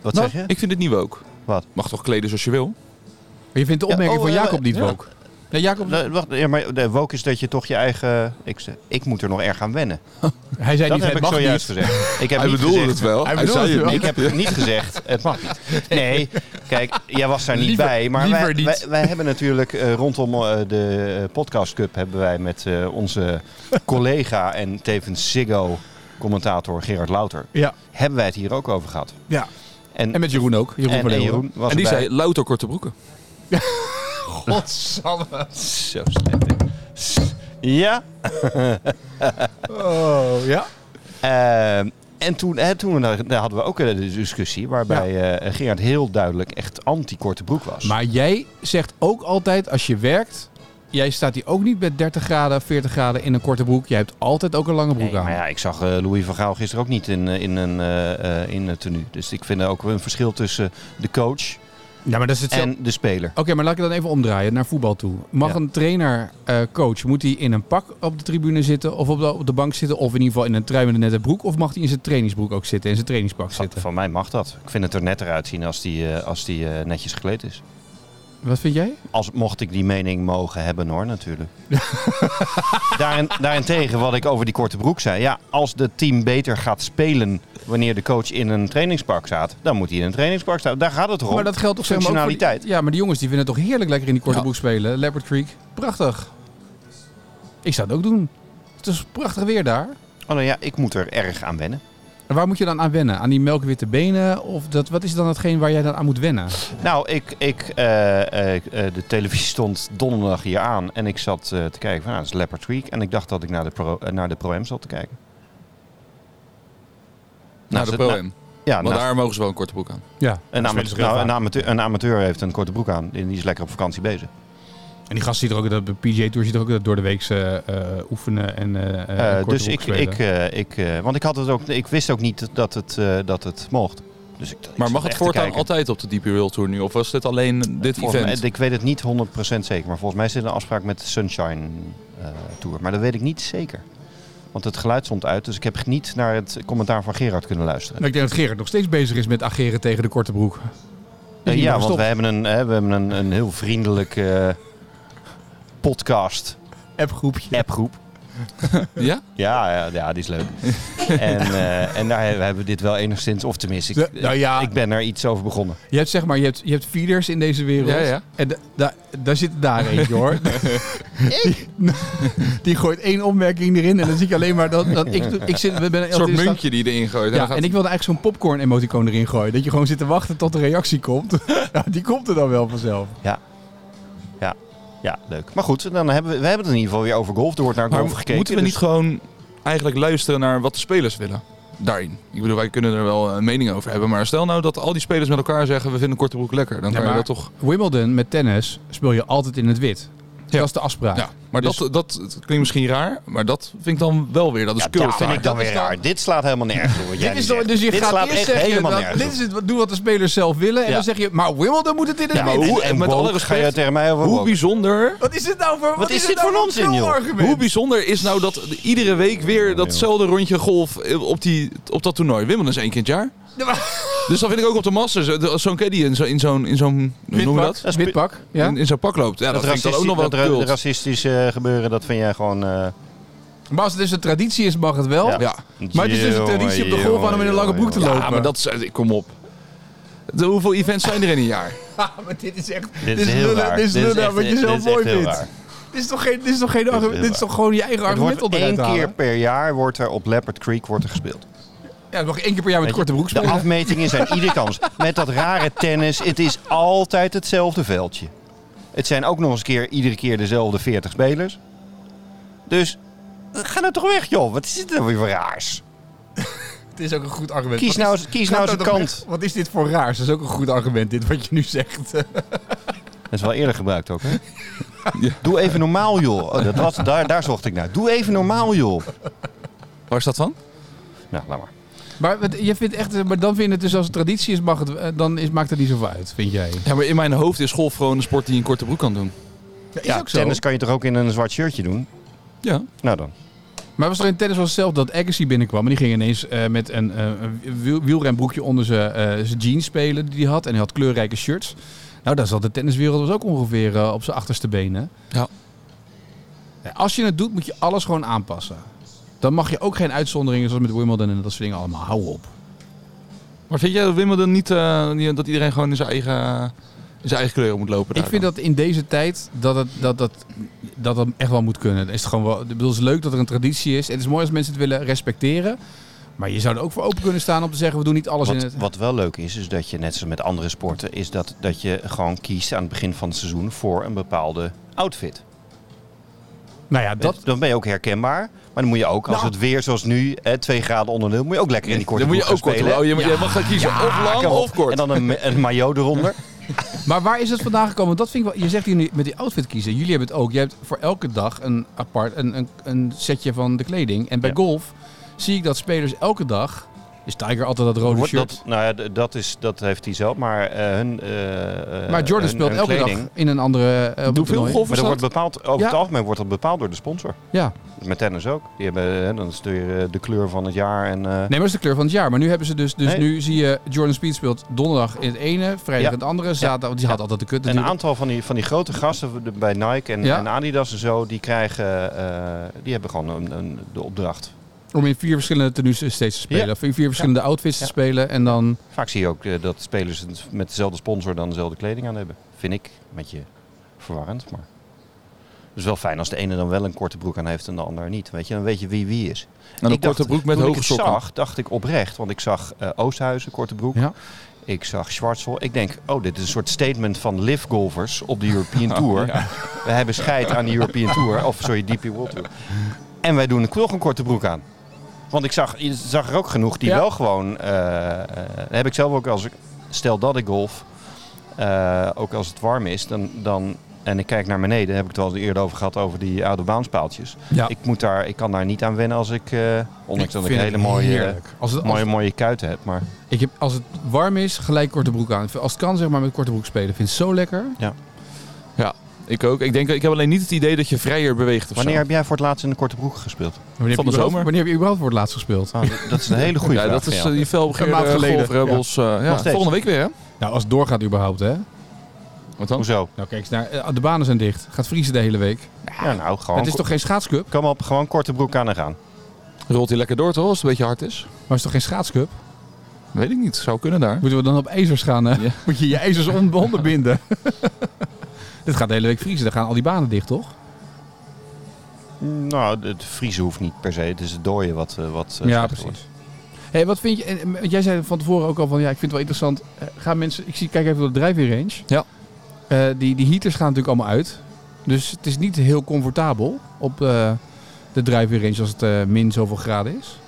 Speaker 2: Wat
Speaker 1: Nou,
Speaker 2: zeg je?
Speaker 3: Ik vind het nieuw ook.
Speaker 2: Wat?
Speaker 3: Mag toch kleden zoals je wil?
Speaker 1: Maar je vindt de
Speaker 2: Ja,
Speaker 1: opmerking
Speaker 2: oh,
Speaker 1: van
Speaker 2: eh,
Speaker 1: Jacob niet
Speaker 2: ja.
Speaker 1: woke. Nee, Jacob,
Speaker 2: Nee, Nou, wacht, ja, maar de woke is dat je toch je eigen... Ik, zeg, ik moet er nog erg aan wennen.
Speaker 1: hij zei
Speaker 2: dat
Speaker 1: niet,
Speaker 2: heb
Speaker 1: het mag
Speaker 2: ik
Speaker 1: niet.
Speaker 2: zojuist gezegd.
Speaker 1: *laughs*
Speaker 2: Ik heb niet gezegd-
Speaker 3: wel.
Speaker 1: Hij bedoelde het wel.
Speaker 2: Ik heb het niet gezegd, het mag
Speaker 1: *laughs*
Speaker 2: niet. Nee, kijk, jij was daar niet
Speaker 1: Liever-
Speaker 2: bij. Maar
Speaker 1: liever
Speaker 2: wij,
Speaker 1: niet.
Speaker 2: Wij, wij hebben natuurlijk eh, rondom eh, de eh, Podcast Cup... hebben wij met eh, onze collega en tevens Ziggo-commentator Gerard Louter...
Speaker 1: Ja,
Speaker 2: hebben wij het hier ook over gehad.
Speaker 1: ja.
Speaker 2: En,
Speaker 1: En met Jeroen ook. Jeroen
Speaker 2: en-
Speaker 1: van
Speaker 2: en
Speaker 1: Leeuwen. *laughs*
Speaker 2: Jeroen was
Speaker 3: En die
Speaker 2: erbij. Nou,
Speaker 3: zei louter korte broeken.
Speaker 1: Godsamme.
Speaker 2: Zo slecht. hè. Ja,
Speaker 1: Oh, ja.
Speaker 2: Eh, en toen, hè, toen daar- daar hadden we ook een discussie waarbij eh, Gerard heel duidelijk echt anti-korte broek was.
Speaker 1: Maar jij zegt ook altijd als je werkt. Jij staat hier ook niet met 30 graden, 40 graden in een korte broek. Jij hebt altijd ook een lange broek
Speaker 2: Nee,
Speaker 1: aan.
Speaker 2: maar ja, ik zag eh, Louis van Gaal gisteren ook niet in, eh, in een eh, eh, in een tenue. Dus ik vind er ook wel een verschil tussen de coach
Speaker 1: Ja, maar dat is hetzelfde.
Speaker 2: en de speler.
Speaker 1: Oké, maar laat ik het dan even omdraaien naar voetbal toe. Mag
Speaker 2: Ja.
Speaker 1: een trainer, eh, coach, moet hij in een pak op de tribune zitten of op de, op de bank zitten? Of in ieder geval in een trui met een nette broek? Of mag hij in zijn trainingsbroek ook zitten, in zijn trainingspak
Speaker 2: Van,
Speaker 1: zitten?
Speaker 2: van mij mag dat. Ik vind het er netter uitzien als die, eh, als die eh, netjes gekleed is.
Speaker 1: Wat vind jij?
Speaker 2: Als, mocht ik die mening mogen hebben hoor, natuurlijk. *laughs* Daarin, daarentegen wat ik over die korte broek zei. Ja, als het team beter gaat spelen wanneer de coach in een trainingspak staat, dan moet hij in een trainingspak staan. Daar gaat het om.
Speaker 1: Maar dat geldt toch zeg maar, ook voor die-
Speaker 2: Functionaliteit.
Speaker 1: ja, maar die jongens die vinden het toch heerlijk lekker in die korte
Speaker 3: Ja.
Speaker 1: broek spelen. Leopard Creek, prachtig. Ik zou het ook doen. Het is prachtig weer daar.
Speaker 2: Oh nou ja, ik moet er erg aan wennen.
Speaker 1: Oké, En waar moet je dan aan wennen? Aan die melkwitte benen? Of dat, wat is dan hetgeen waar jij dan aan moet wennen?
Speaker 2: Nou, ik, ik, eh, eh, eh, de televisie stond donderdag hier aan en ik zat eh, te kijken van, nou, dat is Leopard Creek. En ik dacht dat ik naar de Pro, eh, naar de Pro M zat te kijken.
Speaker 3: Naar
Speaker 2: ze-
Speaker 3: de Pro
Speaker 2: nou,
Speaker 3: M.
Speaker 2: ja,
Speaker 3: Want
Speaker 2: naast-
Speaker 3: daar mogen ze wel een korte broek aan.
Speaker 1: Ja.
Speaker 2: een,
Speaker 1: spelen ze
Speaker 2: amateur,
Speaker 1: heel
Speaker 2: nou,
Speaker 1: vaak.
Speaker 2: een, amateur, een amateur heeft een korte broek aan en die is lekker op vakantie bezig.
Speaker 1: En die gast ziet er ook dat bij PJ Tour ziet er ook dat door de week ze eh, oefenen en eh, eh,
Speaker 2: Eh,
Speaker 1: korte
Speaker 2: dus
Speaker 1: broek
Speaker 2: ik,
Speaker 1: spelen.
Speaker 2: ik, eh, ik eh, want ik, had het ook, ik wist ook niet dat het, eh, dat het mocht. Dus ik, ik
Speaker 3: Maar
Speaker 2: zat
Speaker 3: mag
Speaker 2: echt
Speaker 3: het
Speaker 2: te
Speaker 3: voortaan
Speaker 2: kijken.
Speaker 3: altijd op de DP World Tour nu? Of was dit alleen dit
Speaker 2: Volgens
Speaker 3: event?
Speaker 2: mij- ik weet het niet 100% zeker, maar volgens mij zit er een afspraak met de Sunshine eh, Tour. Maar dat weet ik niet zeker. Want het geluid stond uit, dus ik heb niet naar het commentaar van Gerard kunnen luisteren.
Speaker 1: Nou, ik denk dat Gerard nog steeds bezig is met ageren tegen de korte broek. Dus
Speaker 2: Eh,
Speaker 1: niet
Speaker 2: ja,
Speaker 1: meer
Speaker 2: want
Speaker 1: gestopt.
Speaker 2: we hebben een, hè, we hebben een, een heel vriendelijke podcast
Speaker 1: Appgroepje.
Speaker 2: appgroep.
Speaker 3: Ja?
Speaker 2: Ja, ja, ja, die is leuk. en, eh, en daar hebben we- hebben we dit wel enigszins, of tenminste, ik,
Speaker 1: Ja, nou ja.
Speaker 2: ik ben er iets over begonnen.
Speaker 1: Je hebt zeg maar, je hebt, je hebt feeders in deze wereld.
Speaker 3: Ja, ja.
Speaker 1: En da- da- daar zit daar eentje
Speaker 2: *laughs*
Speaker 1: hoor. Die, *laughs* die gooit één opmerking erin en dan zie ik alleen maar dat, dat ik, ik zit, we ben
Speaker 3: Een soort muntje die je erin gooit.
Speaker 1: Ja, en ik wilde eigenlijk zo'n popcorn emoticon erin gooien. Dat je gewoon zit te wachten tot de reactie
Speaker 3: *laughs*
Speaker 1: komt. Ja, die komt er dan wel vanzelf.
Speaker 2: Ja, leuk. Maar goed, dan hebben we, we hebben het in ieder geval weer over golf. Er wordt naar golf gekeken.
Speaker 3: moeten we
Speaker 2: dus-
Speaker 3: niet gewoon eigenlijk luisteren naar wat de spelers willen? Daarin. Ik bedoel, wij kunnen er wel een mening over hebben. Maar stel nou dat al die spelers met elkaar zeggen, we vinden korte broek lekker. Dan
Speaker 1: Ja,
Speaker 3: kan je
Speaker 1: maar-
Speaker 3: dat toch...
Speaker 1: Wimbledon met tennis speel je altijd in het wit. Dat is de afspraak. Dus
Speaker 3: Ja, maar
Speaker 2: Dus-
Speaker 3: dat, dat het klinkt misschien raar, maar dat vind ik dan wel weer. Dat is
Speaker 2: Ja,
Speaker 3: ja, keurig.
Speaker 2: dat vind ik dan
Speaker 1: Dat is
Speaker 2: weer
Speaker 1: dan-
Speaker 2: raar. Dit slaat helemaal nergens op. wat jij
Speaker 1: Dit
Speaker 2: nu
Speaker 1: is dan,
Speaker 2: zegt.
Speaker 1: dus je
Speaker 2: dit
Speaker 1: gaat
Speaker 2: slaat
Speaker 1: eerst
Speaker 2: echt
Speaker 1: zeggen,
Speaker 2: helemaal
Speaker 1: dat,
Speaker 2: nergens
Speaker 1: dit
Speaker 2: op.
Speaker 1: is het, doe wat de spelers zelf willen. En
Speaker 2: Ja.
Speaker 1: dan zeg je, maar Wimbledon moet het in het
Speaker 2: Ja,
Speaker 1: wit.
Speaker 2: maar hoe,
Speaker 3: En
Speaker 2: en
Speaker 3: met
Speaker 2: met
Speaker 3: alle
Speaker 2: ga je
Speaker 3: respect,
Speaker 2: tegen mij over
Speaker 3: Hoe
Speaker 2: Bob?
Speaker 3: bijzonder...
Speaker 1: *laughs* Wat is dit nou voor
Speaker 2: Wat is dit
Speaker 1: nou
Speaker 2: voor onzin,
Speaker 1: een
Speaker 2: joh?
Speaker 1: argument? *laughs*
Speaker 3: Hoe bijzonder is nou dat iedere week weer datzelfde rondje golf eh, op, die, op dat toernooi? Wimbledon is één keer in het jaar.
Speaker 1: Ja, maar-
Speaker 3: Dus dat vind ik ook op de Masters. eh, de- Zo'n caddy in zo'n... In zo'n in zo'n- hoe noem je dat?
Speaker 2: Dat is
Speaker 1: Wit pak, ja?
Speaker 3: In, in zo'n pak loopt. Ja, dat,
Speaker 2: Dat,
Speaker 3: vind ik dan ook
Speaker 2: racistisch-
Speaker 3: nog wel
Speaker 2: dat ra-
Speaker 3: kult.
Speaker 2: racistische eh, gebeuren, dat vind jij gewoon... eh,
Speaker 1: Maar als het dus een traditie is, mag het wel.
Speaker 2: Ja.
Speaker 3: Ja.
Speaker 1: Oh, Maar het is dus een
Speaker 2: jongen,
Speaker 1: traditie op de golf
Speaker 2: jongen,
Speaker 1: om in een lange
Speaker 2: jongen,
Speaker 1: broek te
Speaker 2: jongen.
Speaker 1: lopen.
Speaker 3: Ja, maar dat is... eh, Kom op. De, hoeveel events zijn er in een jaar?
Speaker 1: *laughs* maar dit is echt...
Speaker 2: Dit is heel
Speaker 1: lullen,
Speaker 2: raar.
Speaker 1: Dit is lullen
Speaker 2: echt-
Speaker 1: wat je
Speaker 2: dit
Speaker 1: zo
Speaker 2: is echt
Speaker 1: mooi
Speaker 2: heel
Speaker 1: vindt.
Speaker 2: raar.
Speaker 1: Dit is toch geen, dit is toch geen
Speaker 2: heel
Speaker 1: argument? Dit is
Speaker 2: raar.
Speaker 1: toch gewoon je eigen
Speaker 2: Het
Speaker 1: argument
Speaker 2: wordt één
Speaker 1: onderuit
Speaker 2: keer
Speaker 1: halen?
Speaker 2: per jaar wordt er op Leopard Creek wordt er gespeeld.
Speaker 1: Ja, nog één keer per jaar met
Speaker 2: Weet
Speaker 1: korte
Speaker 2: je,
Speaker 1: broek
Speaker 2: de
Speaker 1: spelen. *laughs*
Speaker 2: afmetingen zijn ieder kans. Met dat rare tennis, het is altijd hetzelfde veldje. Het zijn ook nog eens een keer iedere keer dezelfde 40 spelers. Dus ga nou toch weg, joh. Wat is dit nou weer voor raars?
Speaker 1: Het is ook een goed argument.
Speaker 2: Kies
Speaker 1: Wat
Speaker 2: nou,
Speaker 1: is-
Speaker 2: kies
Speaker 1: Gaat
Speaker 2: nou
Speaker 1: dat
Speaker 2: zijn
Speaker 1: toch
Speaker 2: kant.
Speaker 1: echt- Wat is dit voor raars? Dat is ook een goed argument, dit wat je nu zegt. *laughs*
Speaker 2: Dat is wel eerder gebruikt ook, hè?
Speaker 3: Ja.
Speaker 2: Doe even normaal, joh. Oh, dat was, daar, daar zocht ik naar. Doe even normaal, joh.
Speaker 3: Waar is dat van?
Speaker 2: Nou, laat maar.
Speaker 1: Maar, wat- je vindt echt, eh, maar dan vind je het dus als het traditie is, mag het, eh, dan is, maakt het niet zoveel uit, vind jij?
Speaker 3: Ja, maar in mijn hoofd is golf gewoon een sport die je in korte broek kan doen.
Speaker 1: Dat is
Speaker 2: Ja,
Speaker 1: ook zo.
Speaker 2: tennis kan je toch ook in een zwart shirtje doen?
Speaker 3: Ja.
Speaker 2: Nou dan.
Speaker 1: Maar was er in tennis wel hetzelfde dat Agassi binnenkwam en die ging ineens eh, met een eh, een wiel- wielrenbroekje onder zijn eh, zijn jeans spelen die hij had en hij had kleurrijke shirts. Nou, daar zat de tenniswereld was ook ongeveer eh, op zijn achterste benen.
Speaker 3: Ja.
Speaker 1: Ja, Als je het doet, moet je alles gewoon aanpassen. Dan mag je ook geen uitzonderingen zoals met Wimbledon en dat soort dingen allemaal. Hou op.
Speaker 3: Maar vind jij dat Wimbledon niet... eh, niet- dat iedereen gewoon in zijn eigen, in zijn eigen kleuren moet lopen?
Speaker 1: Ik
Speaker 3: daar
Speaker 1: vind
Speaker 3: dan?
Speaker 1: dat in deze tijd dat het, dat, dat, dat het echt wel moet kunnen. Is het, gewoon wel, ik bedoel, het is leuk dat er een traditie is. Het is mooi als mensen het willen respecteren. Maar je zou er ook voor open kunnen staan om te zeggen... we doen niet alles in
Speaker 2: Wat,
Speaker 1: het...
Speaker 2: wat wel leuk is, is dat je net zoals met andere sporten, is dat, dat je gewoon kiest aan het begin van het seizoen voor een bepaalde outfit.
Speaker 1: Nou ja, dat...
Speaker 2: Dan ben je ook herkenbaar. Maar dan moet je ook, als
Speaker 1: Nou.
Speaker 2: het weer zoals nu, hè, twee graden onder nul, moet je ook lekker in die korte
Speaker 3: Dan moet je
Speaker 2: broek
Speaker 3: ook
Speaker 2: gaan
Speaker 3: kort
Speaker 2: spelen. Ah,
Speaker 3: houden. Je, je mag gaan kiezen of lang
Speaker 2: Kom op.
Speaker 3: of kort.
Speaker 2: En dan een, ma- een maillot *laughs* eronder.
Speaker 1: Maar waar is het vandaan gekomen? Want Dat vind ik wel... Je zegt hier nu met die outfit kiezen. Jullie hebben het ook. Je hebt voor elke dag een apart... een, een, een setje van de kleding. En bij
Speaker 2: Ja.
Speaker 1: golf zie ik dat spelers elke dag... is Tiger altijd dat rode
Speaker 2: Wordt
Speaker 1: shirt.
Speaker 2: Dat, nou ja, d- dat, is, dat heeft hij zelf, maar eh, hun... eh, eh,
Speaker 1: maar Jordan
Speaker 2: hun-
Speaker 1: speelt
Speaker 2: hun
Speaker 1: elke
Speaker 2: kleding.
Speaker 1: dag in een andere... eh, op
Speaker 3: Hoeveel
Speaker 1: een toernooi.
Speaker 3: golf-
Speaker 2: Maar dat
Speaker 3: Is
Speaker 2: wordt bepaald, over
Speaker 1: Ja.
Speaker 2: het algemeen wordt dat bepaald door de sponsor.
Speaker 1: Ja.
Speaker 2: Met tennis ook. Die hebben, eh, hè, dan stuur je de kleur van het jaar en... eh,
Speaker 1: Nee, maar dat is de kleur van het jaar. Maar nu hebben ze dus, dus
Speaker 2: Nee.
Speaker 1: nu zie je Jordan Speed speelt donderdag in het ene, vrijdag
Speaker 2: Ja.
Speaker 1: in het andere, zaterdag. want Die had altijd de kut.
Speaker 2: Een
Speaker 1: natuurlijk.
Speaker 2: aantal van die, van die grote gasten de- bij Nike en,
Speaker 1: Ja.
Speaker 2: en Adidas en zo, die krijgen, eh, die hebben gewoon een, een, de opdracht.
Speaker 1: Om in vier verschillende tenues steeds te spelen.
Speaker 2: Ja.
Speaker 1: Of in vier verschillende outfits te
Speaker 2: Ja.
Speaker 1: spelen. En dan.
Speaker 2: Vaak zie je ook eh, dat spelers het met dezelfde sponsor dan dezelfde kleding aan hebben. Vind ik, met je verwarrend, maar is wel fijn als de ene dan wel een korte broek aan heeft en de ander niet. Weet je, dan weet je wie wie is.
Speaker 3: En een
Speaker 2: Ik dacht-
Speaker 3: korte broek met
Speaker 2: Toen ik
Speaker 3: hoge
Speaker 2: het
Speaker 3: sokken.
Speaker 2: zag, dacht ik oprecht. Want ik zag eh, Oosthuizen, korte broek.
Speaker 1: Ja.
Speaker 2: Ik zag Schwarzel. Ik denk, oh, dit is een soort statement van live golfers op de European Tour. We hebben scheid aan de European Tour. Of sorry, DP World Tour. En wij doen toch een korte broek aan. Want ik zag, je zag er ook genoeg die
Speaker 1: Ja.
Speaker 2: wel gewoon... eh, eh, heb ik zelf ook als ik... Stel dat ik golf, eh, ook als het warm is, dan, dan... En ik kijk naar beneden, heb ik het wel eens eerder over gehad, over die out-of-bounds paaltjes.
Speaker 1: Ja.
Speaker 2: Ik, moet daar, ik kan daar niet aan wennen als ik, eh ondanks dat ik
Speaker 1: vind
Speaker 2: hele
Speaker 1: het
Speaker 2: mooie,
Speaker 1: heerlijk. Als het, als,
Speaker 2: mooie, mooie kuiten heb. Maar
Speaker 1: ik heb, als het warm is, gelijk korte broek aan. Als het kan, zeg maar met korte broek spelen. Vind het zo lekker.
Speaker 3: Ik ook. Ik, denk, ik heb alleen niet het idee dat je vrijer beweegt of
Speaker 2: wanneer
Speaker 3: zo.
Speaker 2: heb jij voor het laatst in de korte
Speaker 1: *laughs*
Speaker 2: broek gespeeld?
Speaker 1: Wanneer
Speaker 3: Van
Speaker 1: heb je
Speaker 3: de
Speaker 1: überhaupt-
Speaker 3: zomer?
Speaker 1: Wanneer heb je überhaupt voor het laatst gespeeld?
Speaker 2: dat is een hele goede
Speaker 3: ja,
Speaker 2: vraag.
Speaker 3: dat
Speaker 2: van
Speaker 3: is
Speaker 2: jou.
Speaker 3: eh, die felbegeerde
Speaker 1: Een maand geleden.
Speaker 3: golfrebels. eh, ja,
Speaker 2: Nog steeds.
Speaker 3: volgende week weer, hè?
Speaker 1: Nou, als het doorgaat überhaupt, hè?
Speaker 3: Wat dan?
Speaker 2: Hoezo?
Speaker 1: Nou, kijk eens naar... eh, De banen zijn dicht. Gaat vriezen de hele week.
Speaker 2: Ja, nou, gewoon,
Speaker 1: het is toch geen schaatscup?
Speaker 2: kom op, gewoon korte broek aan en gaan.
Speaker 3: Rolt hij lekker door, toch? Als het een beetje hard is.
Speaker 1: Maar het is toch geen schaatscup?
Speaker 3: Weet ik niet. Zou kunnen daar.
Speaker 1: Moeten we dan op ijzers gaan? hè?
Speaker 3: Ja.
Speaker 1: Moet je je ijzers on- onderbinden? *laughs* Dit gaat de hele week vriezen. Dan gaan al die banen dicht, toch?
Speaker 2: Nou, het vriezen hoeft niet per se. Het is het dooien wat, eh, wat eh,
Speaker 1: ja,
Speaker 2: slechter
Speaker 1: precies.
Speaker 2: wordt.
Speaker 1: Hey, wat vind je? en, en, want jij zei van tevoren ook al van ja, ik vind het wel interessant. Eh, Gaan mensen? Ik zie, kijk even door de driving range.
Speaker 3: Ja.
Speaker 1: Eh, die, die heaters gaan natuurlijk allemaal uit. Dus het is niet heel comfortabel op eh, de driving range als het eh, min zoveel graden is.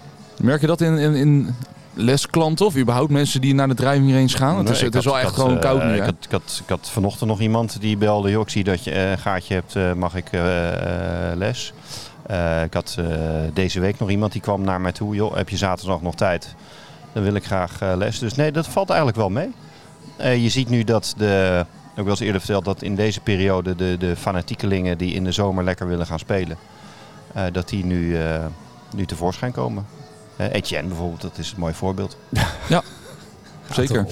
Speaker 3: Merk je dat in, in, in lesklanten of überhaupt mensen die naar de driving range gaan? het is,
Speaker 2: Nee,
Speaker 3: het
Speaker 2: ik
Speaker 3: is wel
Speaker 2: had-
Speaker 3: echt
Speaker 2: ik had,
Speaker 3: gewoon koud
Speaker 2: eh,
Speaker 3: nu,
Speaker 2: Ik
Speaker 3: hè?
Speaker 2: had, ik, had, ik had vanochtend nog iemand die belde. Joh, ik zie dat je eh, een gaatje hebt. eh, mag ik eh, eh, les? Eh, ik had eh, deze week nog iemand die kwam naar mij toe. Joh, heb je zaterdag nog tijd? Dan wil ik graag eh, les. Dus nee, dat valt eigenlijk wel mee. Eh, je ziet nu dat de... Ook wel eens eerder verteld dat in deze periode de, de fanatiekelingen die in de zomer lekker willen gaan spelen, eh, dat die nu, eh, nu tevoorschijn komen. Eh, Etienne bijvoorbeeld, dat is een mooi voorbeeld.
Speaker 3: Zeker.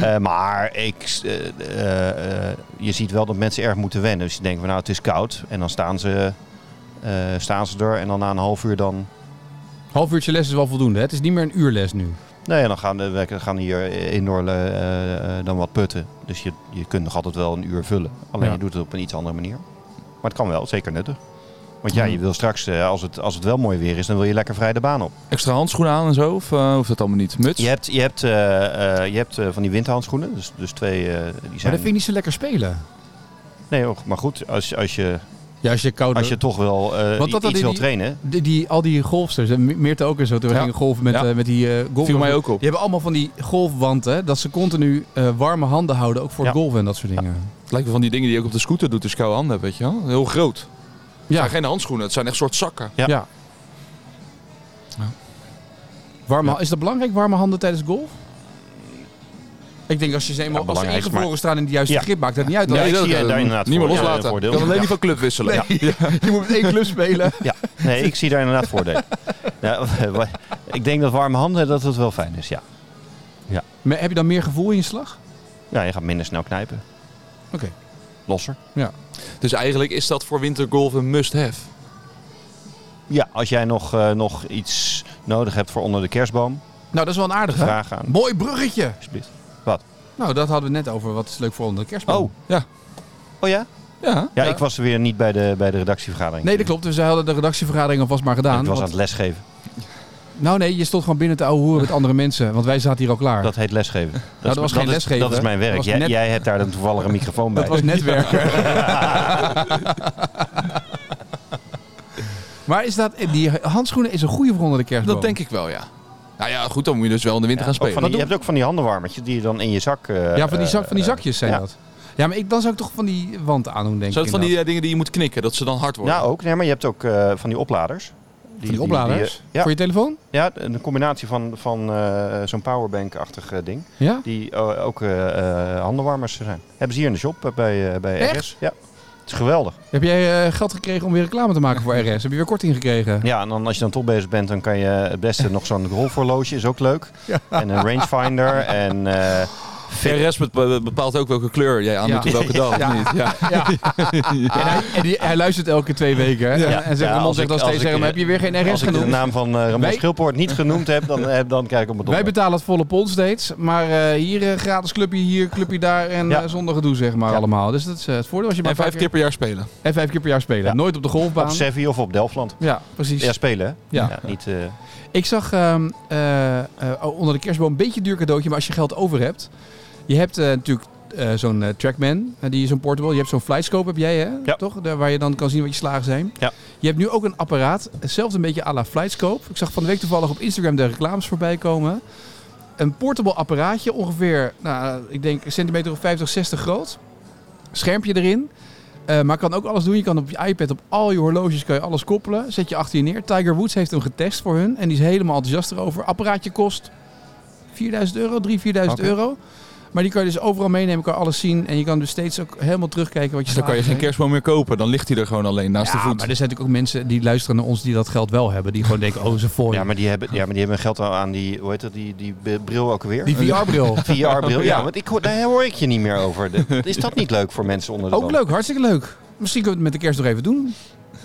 Speaker 2: Eh, maar ik, eh, eh, eh, je ziet wel dat mensen erg moeten wennen. Dus je denkt van nou het is koud. En dan staan ze, eh, staan ze er. En dan na een half uur dan...
Speaker 1: Half uurtje les is wel voldoende. Hè? Het is niet meer een uurles nu.
Speaker 2: Nee, dan gaan, de, we gaan hier indoor eh, eh, dan wat putten. Dus je, je kunt nog altijd wel een uur vullen. Alleen
Speaker 1: Ja.
Speaker 2: je doet het op een iets andere manier. Maar het kan wel, zeker nuttig. Want
Speaker 1: Hmm.
Speaker 2: ja, je wil straks, eh, als, het, als het wel mooi weer is, dan wil je lekker vrij de baan op.
Speaker 3: Extra handschoenen aan en zo? Of eh, hoeft dat allemaal niet? Muts?
Speaker 2: Je hebt, je hebt, eh, eh, je hebt eh, van die windhandschoenen, dus, dus twee eh, die
Speaker 1: Maar
Speaker 2: zijn...
Speaker 1: dat vind ik niet zo lekker spelen.
Speaker 2: Nee, och, maar goed, als, als je
Speaker 1: Ja, als je koude.
Speaker 2: Als je toch wel eh,
Speaker 1: Want dat
Speaker 2: iets
Speaker 1: hadden
Speaker 2: wil
Speaker 1: die-
Speaker 2: trainen.
Speaker 1: Die, die- al die golfsters, en Me- Meerte ook en zo, toen we
Speaker 3: Ja.
Speaker 1: gingen golven met,
Speaker 3: Ja.
Speaker 1: eh, met die eh golf.
Speaker 3: Viel mij ook op.
Speaker 1: Die hebben allemaal van die golfwanten, dat ze continu eh, warme handen houden, ook voor
Speaker 2: Ja.
Speaker 1: het golven en dat soort dingen.
Speaker 3: Het lijkt wel van die dingen die je ook op de scooter doet, dus koude handen, hebt, weet je wel? Heel groot. Het
Speaker 1: Ja,
Speaker 3: zijn geen handschoenen, het zijn echt soort zakken.
Speaker 2: Ja.
Speaker 1: Ja. Warme,
Speaker 2: Ja.
Speaker 1: Is dat belangrijk, warme handen tijdens golf? Ik denk als je ze eenmaal
Speaker 2: Ja,
Speaker 1: als ze
Speaker 2: belangrijk,
Speaker 1: ingevroren staan en de juiste
Speaker 2: Ja.
Speaker 1: grip maakt dat niet uit.
Speaker 3: Nee,
Speaker 1: hoor.
Speaker 2: ik
Speaker 3: dat
Speaker 2: zie je
Speaker 3: kan
Speaker 2: daar
Speaker 3: niet.
Speaker 2: inderdaad
Speaker 3: Niet meer
Speaker 2: voor-
Speaker 3: loslaten.
Speaker 2: eh, voordeel.
Speaker 3: Je kan alleen
Speaker 2: Ja.
Speaker 3: niet van club wisselen.
Speaker 1: Nee, *laughs* je moet met één club
Speaker 2: *laughs*
Speaker 1: spelen.
Speaker 2: Nee, ik zie daar inderdaad voordelen.
Speaker 1: *laughs*
Speaker 2: Ja, *laughs* wa- ik denk dat warme handen dat het wel fijn is, ja.
Speaker 1: Maar heb je dan meer gevoel in je slag?
Speaker 2: Ja, je gaat minder snel knijpen.
Speaker 1: Oké.
Speaker 2: Losser.
Speaker 3: *laughs* Dus eigenlijk is dat voor wintergolf een must-have.
Speaker 2: Ja, als jij nog, eh, nog iets nodig hebt voor onder de kerstboom,
Speaker 1: Nou, dat is wel een aardige.
Speaker 2: vraag aan.
Speaker 1: Mooi bruggetje.
Speaker 2: Alsjeblieft.
Speaker 1: Nou, dat hadden we net over. Wat is leuk voor onder de kerstboom?
Speaker 2: Oh. Oh ja?
Speaker 3: Ja.
Speaker 2: Ja, ik was er weer niet bij de, bij de redactievergadering.
Speaker 1: Nee, dat klopt. Dus zij hadden de redactievergadering alvast maar gedaan.
Speaker 2: Ik was aan
Speaker 1: want-
Speaker 2: het lesgeven.
Speaker 1: Nou nee, je stond gewoon binnen te ouwe hoeren met andere mensen. Want wij zaten hier al klaar.
Speaker 2: Dat heet
Speaker 1: *laughs*
Speaker 2: lesgeven. Dat,
Speaker 1: Nou, dat
Speaker 2: is-
Speaker 1: was geen
Speaker 2: is-
Speaker 1: lesgeven.
Speaker 2: Dat is mijn werk.
Speaker 1: Dat was
Speaker 2: jij,
Speaker 1: net-
Speaker 2: jij hebt daar dan toevallig een microfoon bij.
Speaker 1: Dat was netwerken. *laughs* maar is dat, die handschoenen is een goede voor onder de kerstboom.
Speaker 3: Dat denk ik wel, ja. Nou ja, goed, dan moet je dus wel in de winter gaan
Speaker 2: Ook
Speaker 3: spelen.
Speaker 2: van die- je hebt ook van die handenwarmertjes die je dan in je zak... eh,
Speaker 1: Ja, van die, zak,
Speaker 2: eh,
Speaker 1: van die zakjes zijn
Speaker 2: ja.
Speaker 1: dat. Ja, maar ik, dan zou ik toch van die wand aandoen, denk
Speaker 3: Zijn
Speaker 1: ik.
Speaker 3: het van die
Speaker 1: inderdaad.
Speaker 3: eh, dingen die je moet knikken, dat ze dan hard worden?
Speaker 2: Ja, ook. Nee, maar je hebt ook eh, van die opladers.
Speaker 1: Van die opladers?
Speaker 2: die, eh, ja.
Speaker 1: Voor je telefoon?
Speaker 2: Ja, een combinatie van, van eh, zo'n powerbank-achtig eh, ding.
Speaker 1: Ja?
Speaker 2: Die eh, ook eh, eh, handenwarmers zijn. Hebben ze hier in de shop eh, bij, eh, bij
Speaker 1: Echt?
Speaker 2: RS. Ja. Het is geweldig.
Speaker 1: Heb jij eh, geld gekregen om weer reclame te maken voor RS? Heb je weer korting gekregen?
Speaker 2: Ja, en dan, als je dan toch bezig bent, dan kan je het beste nog zo'n golfhorloge, is ook leuk. En een rangefinder en eh,
Speaker 3: VRS be- bepaalt ook welke kleur jij aan
Speaker 1: Ja.
Speaker 3: doet op
Speaker 2: *laughs*
Speaker 3: welke dag.
Speaker 1: Ja.
Speaker 3: of Niet? Ja.
Speaker 1: *laughs* Ja. En, hij, en die- hij luistert elke twee weken. Hè? En- En
Speaker 2: Ja,
Speaker 1: zegt, Ramon
Speaker 2: als
Speaker 1: zegt dan
Speaker 2: ik- als
Speaker 1: steeds,
Speaker 2: ik-
Speaker 1: zeg, maar, heb je weer geen RS
Speaker 2: Als ik de
Speaker 1: genoemd?
Speaker 2: naam van eh Ramon
Speaker 1: Wij-
Speaker 2: Schilpoort niet genoemd heb, dan, eh, dan kijk ik op mijn
Speaker 1: Wij
Speaker 2: donder.
Speaker 1: betalen het volle pond steeds. Maar eh, hier eh, gratis clubje hier, clubje daar en
Speaker 2: Ja.
Speaker 1: eh, zonder gedoe zeg maar
Speaker 2: Ja.
Speaker 1: allemaal. Dus dat is eh, het voordeel als je maar
Speaker 3: En vijf keer per jaar spelen.
Speaker 1: en vijf keer per jaar spelen.
Speaker 2: Ja.
Speaker 1: Nooit op de
Speaker 2: Op
Speaker 1: golfbaan.
Speaker 2: Sevi of op Delftland.
Speaker 1: Ja, precies.
Speaker 2: Ja, spelen hè?
Speaker 1: Ja.
Speaker 2: niet, eh,
Speaker 1: Ik zag ehm, eh, eh, onder de kerstboom een beetje een duur cadeautje, maar als je geld over hebt. Je hebt eh, natuurlijk eh, zo'n eh, Trackman, eh, die is een portable. Je hebt zo'n flyscope, heb jij hè?
Speaker 2: Ja.
Speaker 1: Toch? Daar, waar je dan kan zien wat je slagen zijn.
Speaker 2: Ja.
Speaker 1: Je hebt nu ook een apparaat, hetzelfde een beetje à la flyscope. Ik zag van de week toevallig op Instagram de reclames voorbij komen. Een portable apparaatje, ongeveer, nou, ik denk een centimeter of 50, 60 groot. Schermpje erin. Eh, maar kan ook alles doen. Je kan op je iPad, op al je horloges kan je alles koppelen. Zet je achter je neer. Tiger Woods heeft hem getest voor hun. En die is helemaal enthousiast erover. Apparaatje kost 4000 euro, 3.000, 4.000
Speaker 3: Oké.
Speaker 1: euro. Maar die kan je dus overal meenemen, kan alles zien. En je kan dus steeds ook helemaal terugkijken wat je
Speaker 3: Dus dan kan je geen
Speaker 1: kerst
Speaker 3: kerstboom meer kopen. Dan ligt hij er gewoon alleen naast
Speaker 1: ja,
Speaker 3: de voet.
Speaker 1: maar er zijn natuurlijk ook mensen die luisteren naar ons die dat geld wel hebben. Die gewoon denken, oh, ze voor.
Speaker 2: ja, maar die hebben, ja, maar die hebben geld al aan die, hoe heet dat, die, die b- bril ook weer? *laughs*
Speaker 1: Die VR-bril.
Speaker 2: VR-bril, ja,
Speaker 3: Ja.
Speaker 2: want ik hoor, daar hoor ik je niet meer
Speaker 1: *laughs*
Speaker 2: over. De- Is dat niet leuk voor mensen onder de
Speaker 1: ook
Speaker 2: boom?
Speaker 1: leuk, hartstikke leuk. Misschien kunnen we het met de kerst nog even doen.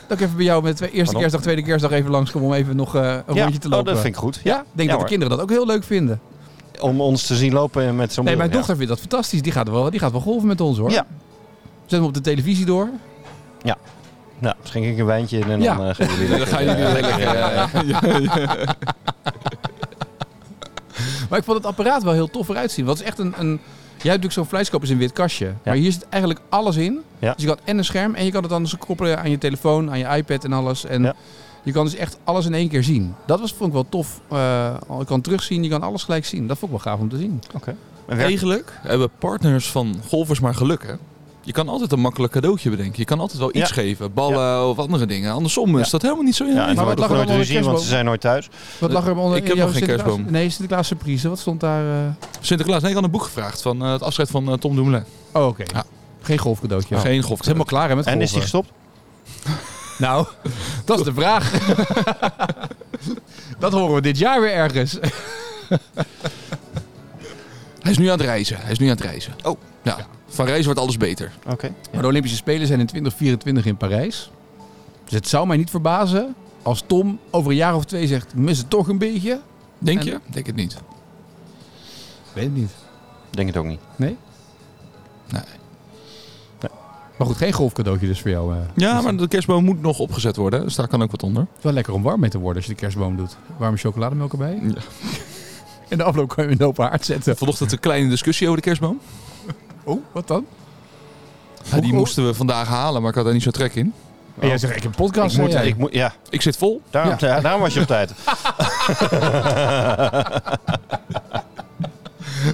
Speaker 1: Dat ik even bij jou met de eerste
Speaker 2: Waarom?
Speaker 1: kerstdag, tweede kerstdag even langskom om even nog eh, een
Speaker 2: Ja,
Speaker 1: rondje te
Speaker 2: oh,
Speaker 1: lopen.
Speaker 2: dat vind ik goed.
Speaker 1: Ja, ik denk
Speaker 2: Ja,
Speaker 1: dat
Speaker 2: hoor.
Speaker 1: de kinderen dat ook heel leuk vinden.
Speaker 2: Om ons te zien lopen met zo'n
Speaker 1: Nee,
Speaker 2: bril,
Speaker 1: mijn
Speaker 2: ja.
Speaker 1: dochter vindt dat fantastisch. Die gaat wel, die gaat wel golven met ons hoor.
Speaker 2: Ja.
Speaker 1: Zet hem op de televisie door.
Speaker 2: Nou, schenk ik een wijntje in en
Speaker 1: Ja.
Speaker 2: dan eh, gaan jullie
Speaker 1: *laughs*
Speaker 3: Dan gaan jullie
Speaker 2: eh,
Speaker 3: lekker,
Speaker 2: eh,
Speaker 1: Maar ik vond het apparaat wel heel tof vooruit zien. Want het is echt een, een... Jij hebt natuurlijk zo'n vlijskoop is een wit kastje. Maar hier zit eigenlijk alles in.
Speaker 2: Ja.
Speaker 1: Dus je kan en een scherm en je kan het dan dus koppelen aan je telefoon, aan je iPad en alles. En
Speaker 2: Ja.
Speaker 1: je kan dus echt alles in één keer zien. Dat was, vond ik wel tof. Eh, je kan terugzien, je kan alles gelijk zien. Dat vond ik wel gaaf om te zien.
Speaker 2: en werk-
Speaker 3: Eigenlijk hebben partners van golfers maar geluk, hè? Je kan altijd een makkelijk cadeautje bedenken. Je kan altijd wel iets
Speaker 2: Ja.
Speaker 3: geven. Ballen of andere dingen. Andersom is
Speaker 2: Ja.
Speaker 3: dat helemaal niet zo
Speaker 2: Ja, en
Speaker 3: ingewikkeld.
Speaker 1: Maar
Speaker 2: ze
Speaker 1: wat
Speaker 2: worden
Speaker 1: lag er
Speaker 2: ook nooit
Speaker 1: allemaal in
Speaker 2: te zien, want
Speaker 1: kerstboom?
Speaker 2: ze zijn nooit thuis.
Speaker 1: Wat lag er onder
Speaker 3: Ik heb
Speaker 1: in jouw
Speaker 3: nog geen
Speaker 1: Sinterklaas-
Speaker 3: kerstboom.
Speaker 1: Nee, Sinterklaas surprise. Wat stond daar? eh?
Speaker 3: Sinterklaas, nee, ik had een boek gevraagd van eh, het afscheid van eh, Tom Dumoulin.
Speaker 1: Oh, oké. Oh.
Speaker 3: Ja.
Speaker 1: Geen golfcadeautje. Ze
Speaker 3: Geen golf.
Speaker 1: is helemaal klaar hè, met
Speaker 2: En is die
Speaker 1: golven.
Speaker 2: gestopt?
Speaker 1: Nou, *laughs* dat is de vraag. dat horen we dit jaar weer ergens.
Speaker 3: Hij is nu aan het reizen. Hij is nu aan het reizen. Oh. Ja. Van reizen wordt alles beter.
Speaker 2: Oké.
Speaker 1: Maar de Olympische Spelen zijn in 2024 in Parijs. Dus het zou mij niet verbazen als Tom over een jaar of twee zegt... mis het toch een beetje?
Speaker 3: Denk
Speaker 1: En-
Speaker 3: je? Denk het niet.
Speaker 1: Weet het niet.
Speaker 2: Denk het ook niet.
Speaker 1: Nee?
Speaker 3: Nee.
Speaker 1: Maar goed, geen golfcadeautje dus voor jou. eh.
Speaker 3: Ja, maar de kerstboom moet nog opgezet worden. Dus daar kan ook wat onder.
Speaker 1: Het is wel lekker om warm mee te worden als je de kerstboom doet. Warme chocolademelk erbij.
Speaker 3: Ja.
Speaker 1: En de afloop kan je hem *laughs* in de open haard zetten.
Speaker 3: Vanochtend een kleine discussie over de kerstboom.
Speaker 1: Oh, wat dan?
Speaker 3: Ja, die
Speaker 1: Hoe-
Speaker 3: moesten we vandaag halen, maar ik had daar niet zo trek in.
Speaker 1: En jij zegt, ik heb een podcast.
Speaker 2: Ik moet,
Speaker 1: zei jij.
Speaker 2: ik moet, ja,
Speaker 3: Ik zit vol.
Speaker 2: daarom, ja, daarom was je op
Speaker 1: *laughs*
Speaker 2: tijd.
Speaker 1: *laughs*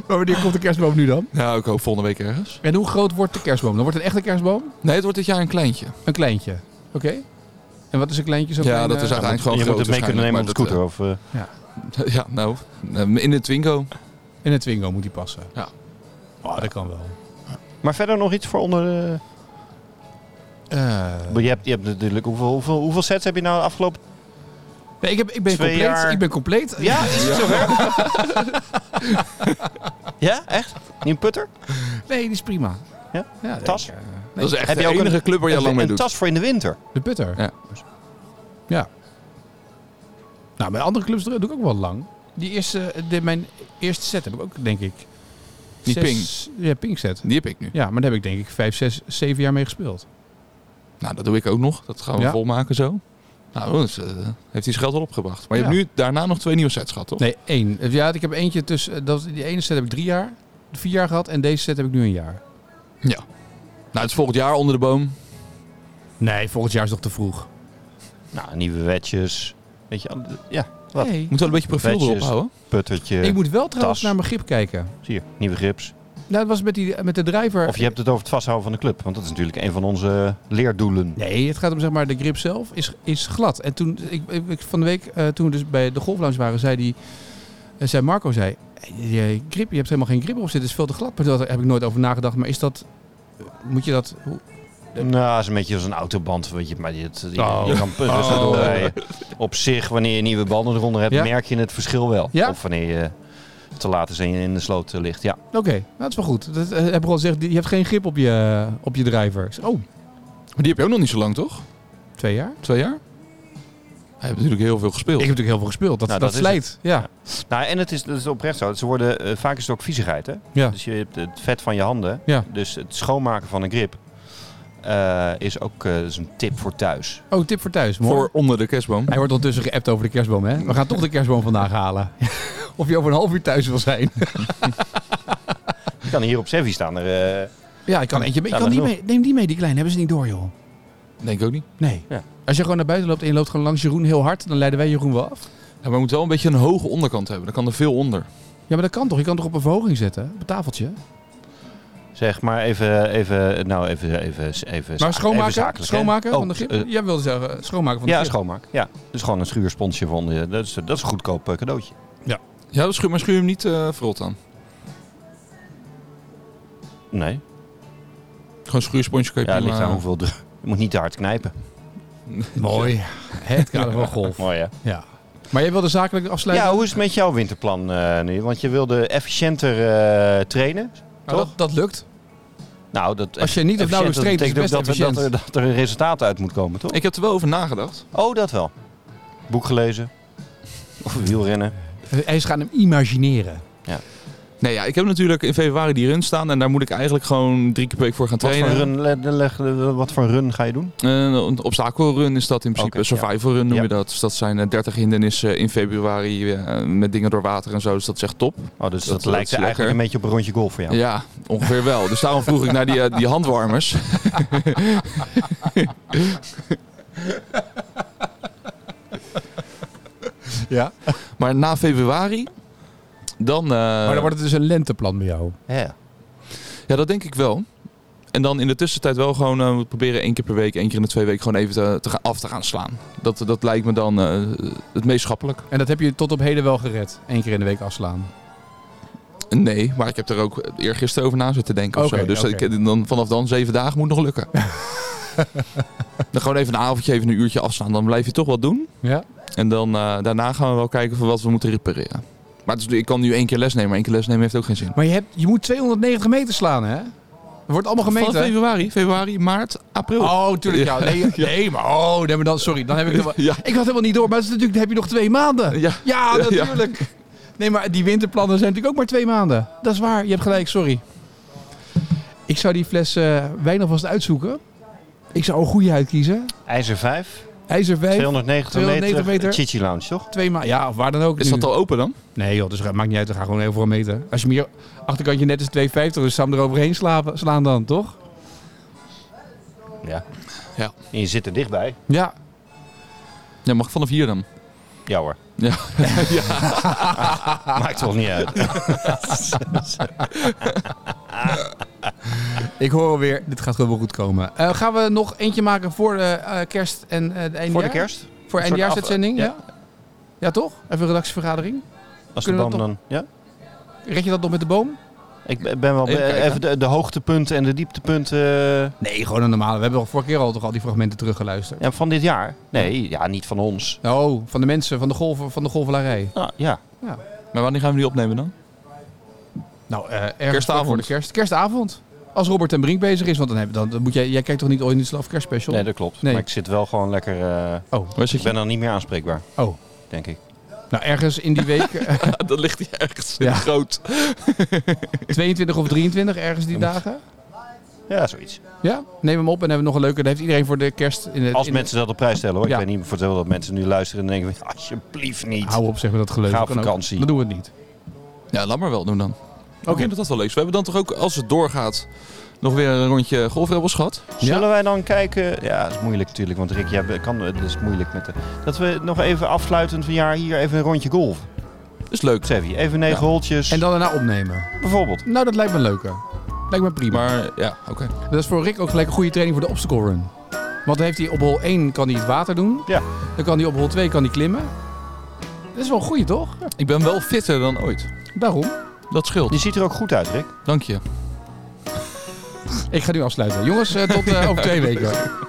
Speaker 1: Maar wanneer komt de kerstboom nu dan?
Speaker 3: Ja, Nou, ik hoop volgende week ergens.
Speaker 1: En hoe groot wordt de kerstboom? Dan wordt het een echte kerstboom?
Speaker 3: Nee, het wordt dit jaar een kleintje. *laughs*
Speaker 1: Een kleintje. Oké. En wat is een kleintje? Zo'n
Speaker 3: Ja,
Speaker 1: klein,
Speaker 3: dat
Speaker 1: eh,
Speaker 3: is
Speaker 2: Ja,
Speaker 3: uiteindelijk gewoon
Speaker 2: je moet
Speaker 3: groot
Speaker 2: het mee kunnen nemen op de
Speaker 3: waarschijnlijk,
Speaker 2: scooter. Of, eh,
Speaker 3: Ja, nou, eh, in de Twingo.
Speaker 1: In een Twingo moet die passen.
Speaker 3: Ja.
Speaker 1: Oh, dat kan wel.
Speaker 2: eh. maar verder nog iets voor onder de...
Speaker 1: Eh,
Speaker 2: je, hebt, je hebt natuurlijk... Hoeveel, hoeveel, hoeveel sets heb je nou de afgelopen...
Speaker 1: Nee, ik, heb, ik, ben
Speaker 2: Twee
Speaker 1: compleet,
Speaker 2: jaar.
Speaker 1: ik ben compleet.
Speaker 2: is het zover? *laughs* ja, echt? Nieuw putter?
Speaker 1: *laughs* Nee, die is prima.
Speaker 2: Ja?
Speaker 1: ja
Speaker 2: Tas?
Speaker 1: ik, eh,
Speaker 3: Dat is echt
Speaker 2: Heb
Speaker 3: de
Speaker 2: je ook
Speaker 3: enige club waar je
Speaker 2: een,
Speaker 3: lang mee
Speaker 2: een
Speaker 3: doet.
Speaker 2: tas voor in de winter.
Speaker 1: de putter.
Speaker 3: Ja.
Speaker 1: Ja. Nou, bij andere clubs doe ik ook wel lang. Die eerste, eh, de, mijn eerste set heb ik ook, denk ik.
Speaker 3: Die
Speaker 1: zes- Ja, pink set.
Speaker 3: Die heb ik nu.
Speaker 1: Ja, maar daar heb ik denk ik vijf, zes, zeven jaar mee gespeeld.
Speaker 3: Nou, dat doe ik ook nog. Dat gaan we
Speaker 1: Ja.
Speaker 3: volmaken zo. Nou, dat is, eh, heeft hij zijn geld al opgebracht. Maar je
Speaker 1: Ja.
Speaker 3: hebt nu daarna nog twee nieuwe sets gehad, toch?
Speaker 1: Nee, één. Ja, ik heb eentje tussen. eh, Dat, die ene set heb ik drie jaar, vier jaar gehad. En deze set heb ik nu een jaar.
Speaker 3: Ja. Nou, het is volgend jaar onder de boom.
Speaker 1: Nee, volgend jaar is nog te vroeg.
Speaker 2: Nou, nieuwe wedjes. Weet je, ja, Wat?
Speaker 1: Nee.
Speaker 3: Moet wel een beetje profiel
Speaker 2: Wedges.
Speaker 3: erop houden.
Speaker 2: puttertje.
Speaker 1: Ik moet wel trouwens
Speaker 2: Tas.
Speaker 1: naar mijn grip kijken.
Speaker 2: Zie je, nieuwe grips.
Speaker 1: Nou, dat was met, die, met de driver.
Speaker 2: Of je hebt het over het vasthouden van de club. Want dat is natuurlijk een van onze leerdoelen.
Speaker 1: Nee, het gaat om zeg maar de grip zelf is, is glad. En toen ik, ik- ik- van de week, eh, toen we dus bij de golflounge waren, zei, die, eh, zei Marco, zei, je, grip, je hebt helemaal geen grip op zitten, het is veel te glad. Maar daar heb ik nooit over nagedacht. Maar is dat, eh, moet je dat, hoe-
Speaker 2: Nou, dat is een beetje als een autoband. Weet je, maar je, je, je
Speaker 1: Oh.
Speaker 2: kan rustig
Speaker 1: Oh.
Speaker 2: doorrijden. Op zich, wanneer je nieuwe banden eronder hebt,
Speaker 1: Ja.
Speaker 2: merk je het verschil wel.
Speaker 1: Ja?
Speaker 2: Of wanneer je te laten zien in de sloot eh, ligt. Ja,
Speaker 1: Oké, nou, dat is wel goed. Dat eh, heb ik al gezegd. Je hebt geen grip op je, op je driver. Ik zeg, Oh,
Speaker 3: Maar die heb je ook nog niet zo lang, toch?
Speaker 1: twee jaar?
Speaker 3: Twee jaar? Hij heeft natuurlijk heel veel
Speaker 1: Ik
Speaker 3: gespeeld.
Speaker 1: heb natuurlijk heel veel gespeeld. Dat,
Speaker 2: Nou,
Speaker 1: dat,
Speaker 2: dat is
Speaker 1: slijt. Ja.
Speaker 2: nou, en het is, dat is oprecht zo. Ze worden, eh, vaak is het ook viezigheid. Hè?
Speaker 1: Ja.
Speaker 2: Dus je hebt het vet van je handen.
Speaker 1: Ja.
Speaker 2: Dus het schoonmaken van een grip eh, is ook eh, is een tip voor thuis.
Speaker 1: Oh, tip voor thuis. Mooi.
Speaker 3: Voor onder de kerstboom.
Speaker 1: Hij wordt ondertussen geappt over de kerstboom, hè? We gaan toch de kerstboom vandaag halen. *laughs* of je over een half uur thuis wil zijn.
Speaker 2: Je kan hier op Sevi staan. Er, eh,
Speaker 1: Ja, ik kan eentje. Ik
Speaker 2: Ja,
Speaker 1: kan
Speaker 2: dat
Speaker 1: die
Speaker 2: wel.
Speaker 1: mee, neem die mee, die klein. Hebben ze niet door, joh.
Speaker 3: Denk ik ook niet.
Speaker 1: Nee.
Speaker 2: Ja.
Speaker 1: Als je gewoon naar buiten loopt en je loopt gewoon langs Jeroen heel hard, dan leiden wij Jeroen wel af.
Speaker 3: Ja, maar we moeten wel een beetje een hoge onderkant hebben. Dan kan er veel onder.
Speaker 1: Ja, maar dat kan toch? Je kan toch op een verhoging zetten? Op een tafeltje?
Speaker 2: zeg maar even, even, nou even, even, even
Speaker 1: Maar schoonmaken?
Speaker 2: even zakelijk, hè?
Speaker 1: schoonmaken
Speaker 2: Oh,
Speaker 1: van de grip?
Speaker 2: eh,
Speaker 1: Jij wilde zeggen schoonmaken van
Speaker 2: ja,
Speaker 1: de grip.
Speaker 2: schoonmaken. Ja. Dus gewoon een schuursponsje van de, dat, is, dat is een goedkoop eh, cadeautje.
Speaker 3: Ja, dat schuur, maar schuur je hem niet eh verrot aan.
Speaker 2: Nee,
Speaker 3: Gewoon schuursponsje kan je
Speaker 2: ja, het
Speaker 3: prima-
Speaker 1: eh,
Speaker 2: ligt aan hoeveel druk. *laughs* Je moet niet te hard knijpen.
Speaker 1: Mooi. Hè, *laughs* Het kader van golf.
Speaker 2: Mooi hè?
Speaker 1: Ja. Maar jij wilde zakelijk afsluiten?
Speaker 2: Ja, hoe is het met jouw winterplan eh, nu? Want je wilde efficiënter eh, trainen.
Speaker 1: Nou,
Speaker 2: toch?
Speaker 1: dat, dat lukt.
Speaker 2: Nou, dat
Speaker 1: Als je niet of nauwelijks
Speaker 2: efficiënt,
Speaker 1: traint, is het
Speaker 2: dat
Speaker 1: best
Speaker 2: betekent ook dat, er- dat, er, dat er een resultaat uit moet komen, toch?
Speaker 3: Ik heb er wel over nagedacht.
Speaker 2: Oh, dat wel. Boek gelezen. Of wielrennen.
Speaker 1: Hij is gaan hem imagineren.
Speaker 3: Nee, ja, ik heb natuurlijk in februari die run staan. En daar moet ik eigenlijk gewoon drie keer per week voor gaan
Speaker 2: Wat voor,
Speaker 3: trainen.
Speaker 2: run, le- leg- le- wat voor run ga je doen?
Speaker 3: Eh, Een obstakelrun is dat in principe.
Speaker 2: Oké, ja.
Speaker 3: Survival run noem
Speaker 2: Ja.
Speaker 3: je dat. Dus dat zijn eh, 30 hindernissen in februari eh, met dingen door water en zo. Dus dat is echt top.
Speaker 2: Oh, dus dat,
Speaker 3: dat is
Speaker 2: lijkt
Speaker 3: lekker.
Speaker 2: eigenlijk een beetje op een rondje golf voor
Speaker 3: Ja,
Speaker 2: jou.
Speaker 3: ongeveer wel. Dus daarom vroeg ik naar die, eh, die handwarmers.
Speaker 1: Ja.
Speaker 3: Maar na februari, dan... eh,
Speaker 1: Maar dan wordt het dus een lenteplan bij jou.
Speaker 2: Ja.
Speaker 3: Ja, dat denk ik wel. En dan in de tussentijd wel gewoon eh, we proberen één keer per week, één keer in de twee weken gewoon even te, te gaan, af te gaan slaan. Dat, dat lijkt me dan eh, het meest schappelijk.
Speaker 1: En dat heb je tot op heden wel gered. Eén keer in de week afslaan.
Speaker 3: Nee, maar ik heb er ook eergisteren over na zitten denken of
Speaker 1: Oké,
Speaker 3: zo. Dus dat
Speaker 1: oké.
Speaker 3: ik, dan, vanaf dan zeven dagen moet nog
Speaker 1: *laughs*
Speaker 3: lukken. dan gewoon even een avondje, even een uurtje afslaan. Dan blijf je toch wat doen.
Speaker 1: Ja.
Speaker 3: En dan eh, daarna gaan we wel kijken voor wat we moeten repareren. Maar het is, ik kan nu één keer les nemen, maar één keer les nemen heeft ook geen zin.
Speaker 1: Maar je, hebt, je moet 290 meter slaan, hè? Dat wordt allemaal
Speaker 3: Vanaf
Speaker 1: gemeten.
Speaker 3: februari, februari, maart, april.
Speaker 1: Oh, tuurlijk. Ja.
Speaker 3: *laughs*
Speaker 1: Nee, nee, maar, oh, nee, maar dan, sorry. Dan heb ik, er wel-
Speaker 3: Ja.
Speaker 1: ik had helemaal niet door. Maar dat is natuurlijk, dan heb je nog twee maanden.
Speaker 3: Ja.
Speaker 1: Ja,
Speaker 3: Ja.
Speaker 1: Ah, natuurlijk. Nee, maar die winterplannen zijn natuurlijk ook maar twee maanden. Dat is waar. Je hebt gelijk, sorry. Ik zou die fles eh, wijn alvast uitzoeken. Ik zou een goede uitkiezen.
Speaker 2: IJzer 5,
Speaker 1: IJzer 5,
Speaker 2: 290,
Speaker 1: 290 meter.
Speaker 2: meter, Chichi Lounge, toch?
Speaker 1: twee maanden. Ja, of waar dan ook.
Speaker 3: Is
Speaker 1: nu.
Speaker 3: dat al open dan?
Speaker 1: Nee joh, dus het maakt niet uit. We gaan gewoon even voor een meter. Als je meer achterkantje net is 2,50, dus Sam eroverheen slapen, slaan dan, toch?
Speaker 2: Ja.
Speaker 3: Ja.
Speaker 2: En je zit er dichtbij.
Speaker 1: Ja.
Speaker 3: Ja, mag ik vanaf hier dan?
Speaker 2: Ja hoor. *laughs*
Speaker 3: Ja.
Speaker 2: Maakt toch niet uit.
Speaker 1: Ik hoor alweer, dit gaat gewoon wel goed komen. Eh, gaan we nog eentje maken voor de eh, kerst en eh het einde
Speaker 2: Voor de
Speaker 1: jaar?
Speaker 2: kerst?
Speaker 1: Voor
Speaker 2: Een soort
Speaker 1: eindejaarsuitzending,
Speaker 2: af-
Speaker 1: ja. ja. toch? Even een redactievergadering.
Speaker 2: Als de
Speaker 1: Kunnen
Speaker 2: boom
Speaker 1: we dat
Speaker 2: dan... Ja?
Speaker 1: Red je dat nog met de boom?
Speaker 2: Ik ben ben wel...
Speaker 3: Even
Speaker 2: Even,
Speaker 3: kijken.
Speaker 2: de, de hoogtepunten en de dieptepunten eh,
Speaker 1: Nee, gewoon een normale. We hebben al vorige keer al toch al die fragmenten teruggeluisterd.
Speaker 2: ja, van dit jaar. Nee, ja, niet van ons.
Speaker 1: Oh, van de mensen, van de, golven, van de golvelarij.
Speaker 2: Nou, ja.
Speaker 3: Maar wanneer gaan we die opnemen dan?
Speaker 1: Nou, eh ergens
Speaker 3: Kerstavond.
Speaker 1: voor de kerst. Kerstavond. Als Robert ten Brink bezig is, want dan, heb, dan, dan moet jij... Jij kijkt toch niet ooit in de kerstspecial?
Speaker 2: Nee, dat klopt.
Speaker 1: Nee.
Speaker 2: Maar ik zit wel gewoon lekker... eh,
Speaker 1: Oh,
Speaker 3: Waar zit
Speaker 2: ik
Speaker 3: je?
Speaker 2: ben dan niet meer aanspreekbaar,
Speaker 1: oh.
Speaker 2: denk ik.
Speaker 1: Nou, ergens in die *laughs* week, eh,
Speaker 3: dat ligt hier ergens
Speaker 1: Ja.
Speaker 3: groot.
Speaker 1: 22 of 23, ergens die dagen.
Speaker 2: Ja, zoiets.
Speaker 1: Ja, neem hem op en hebben we nog een leuke. Dan heeft iedereen voor de kerst... In het,
Speaker 2: Als
Speaker 1: Eh, in-
Speaker 2: mensen dat op prijs stellen hoor.
Speaker 1: Ja.
Speaker 2: Ik weet niet voor hoeveel dat mensen nu luisteren en denken... *laughs* Alsjeblieft niet.
Speaker 1: Hou op, zeg maar dat geloof.
Speaker 2: Ga op
Speaker 1: Kan ook.
Speaker 2: vakantie.
Speaker 1: Dan doen we het niet.
Speaker 3: Ja, laat maar wel doen dan.
Speaker 1: Oké.
Speaker 3: Ik denk Oh, dat dat wel leuk is. We hebben dan toch ook, als het doorgaat, nog weer een rondje golfrebels gehad.
Speaker 2: Zullen wij dan kijken... Ja, dat is moeilijk natuurlijk, want Rick, jij kan... Dat is moeilijk met de... Dat we nog even afsluitend van jaar hier even een rondje golf.
Speaker 3: Is leuk.
Speaker 2: Sevi, even negen
Speaker 3: Ja.
Speaker 2: holtjes.
Speaker 1: En dan daarna opnemen.
Speaker 2: bijvoorbeeld.
Speaker 1: Nou, dat lijkt me leuker. Lijkt me prima.
Speaker 3: Maar ja, oké.
Speaker 1: Dat is voor Rick ook gelijk een goede training voor de obstacle run. Want dan heeft hij op hol 1 kan hij het water doen.
Speaker 2: Ja.
Speaker 1: Dan kan hij op hol 2 kan hij klimmen. Dat is wel een goeie, toch?
Speaker 3: Ik ben wel fitter dan ooit.
Speaker 1: Daarom.
Speaker 3: Dat scheelt.
Speaker 2: Je ziet er ook goed uit, Rick.
Speaker 3: Dank je.
Speaker 1: Ik ga nu afsluiten. Jongens, eh, tot eh, over twee weken.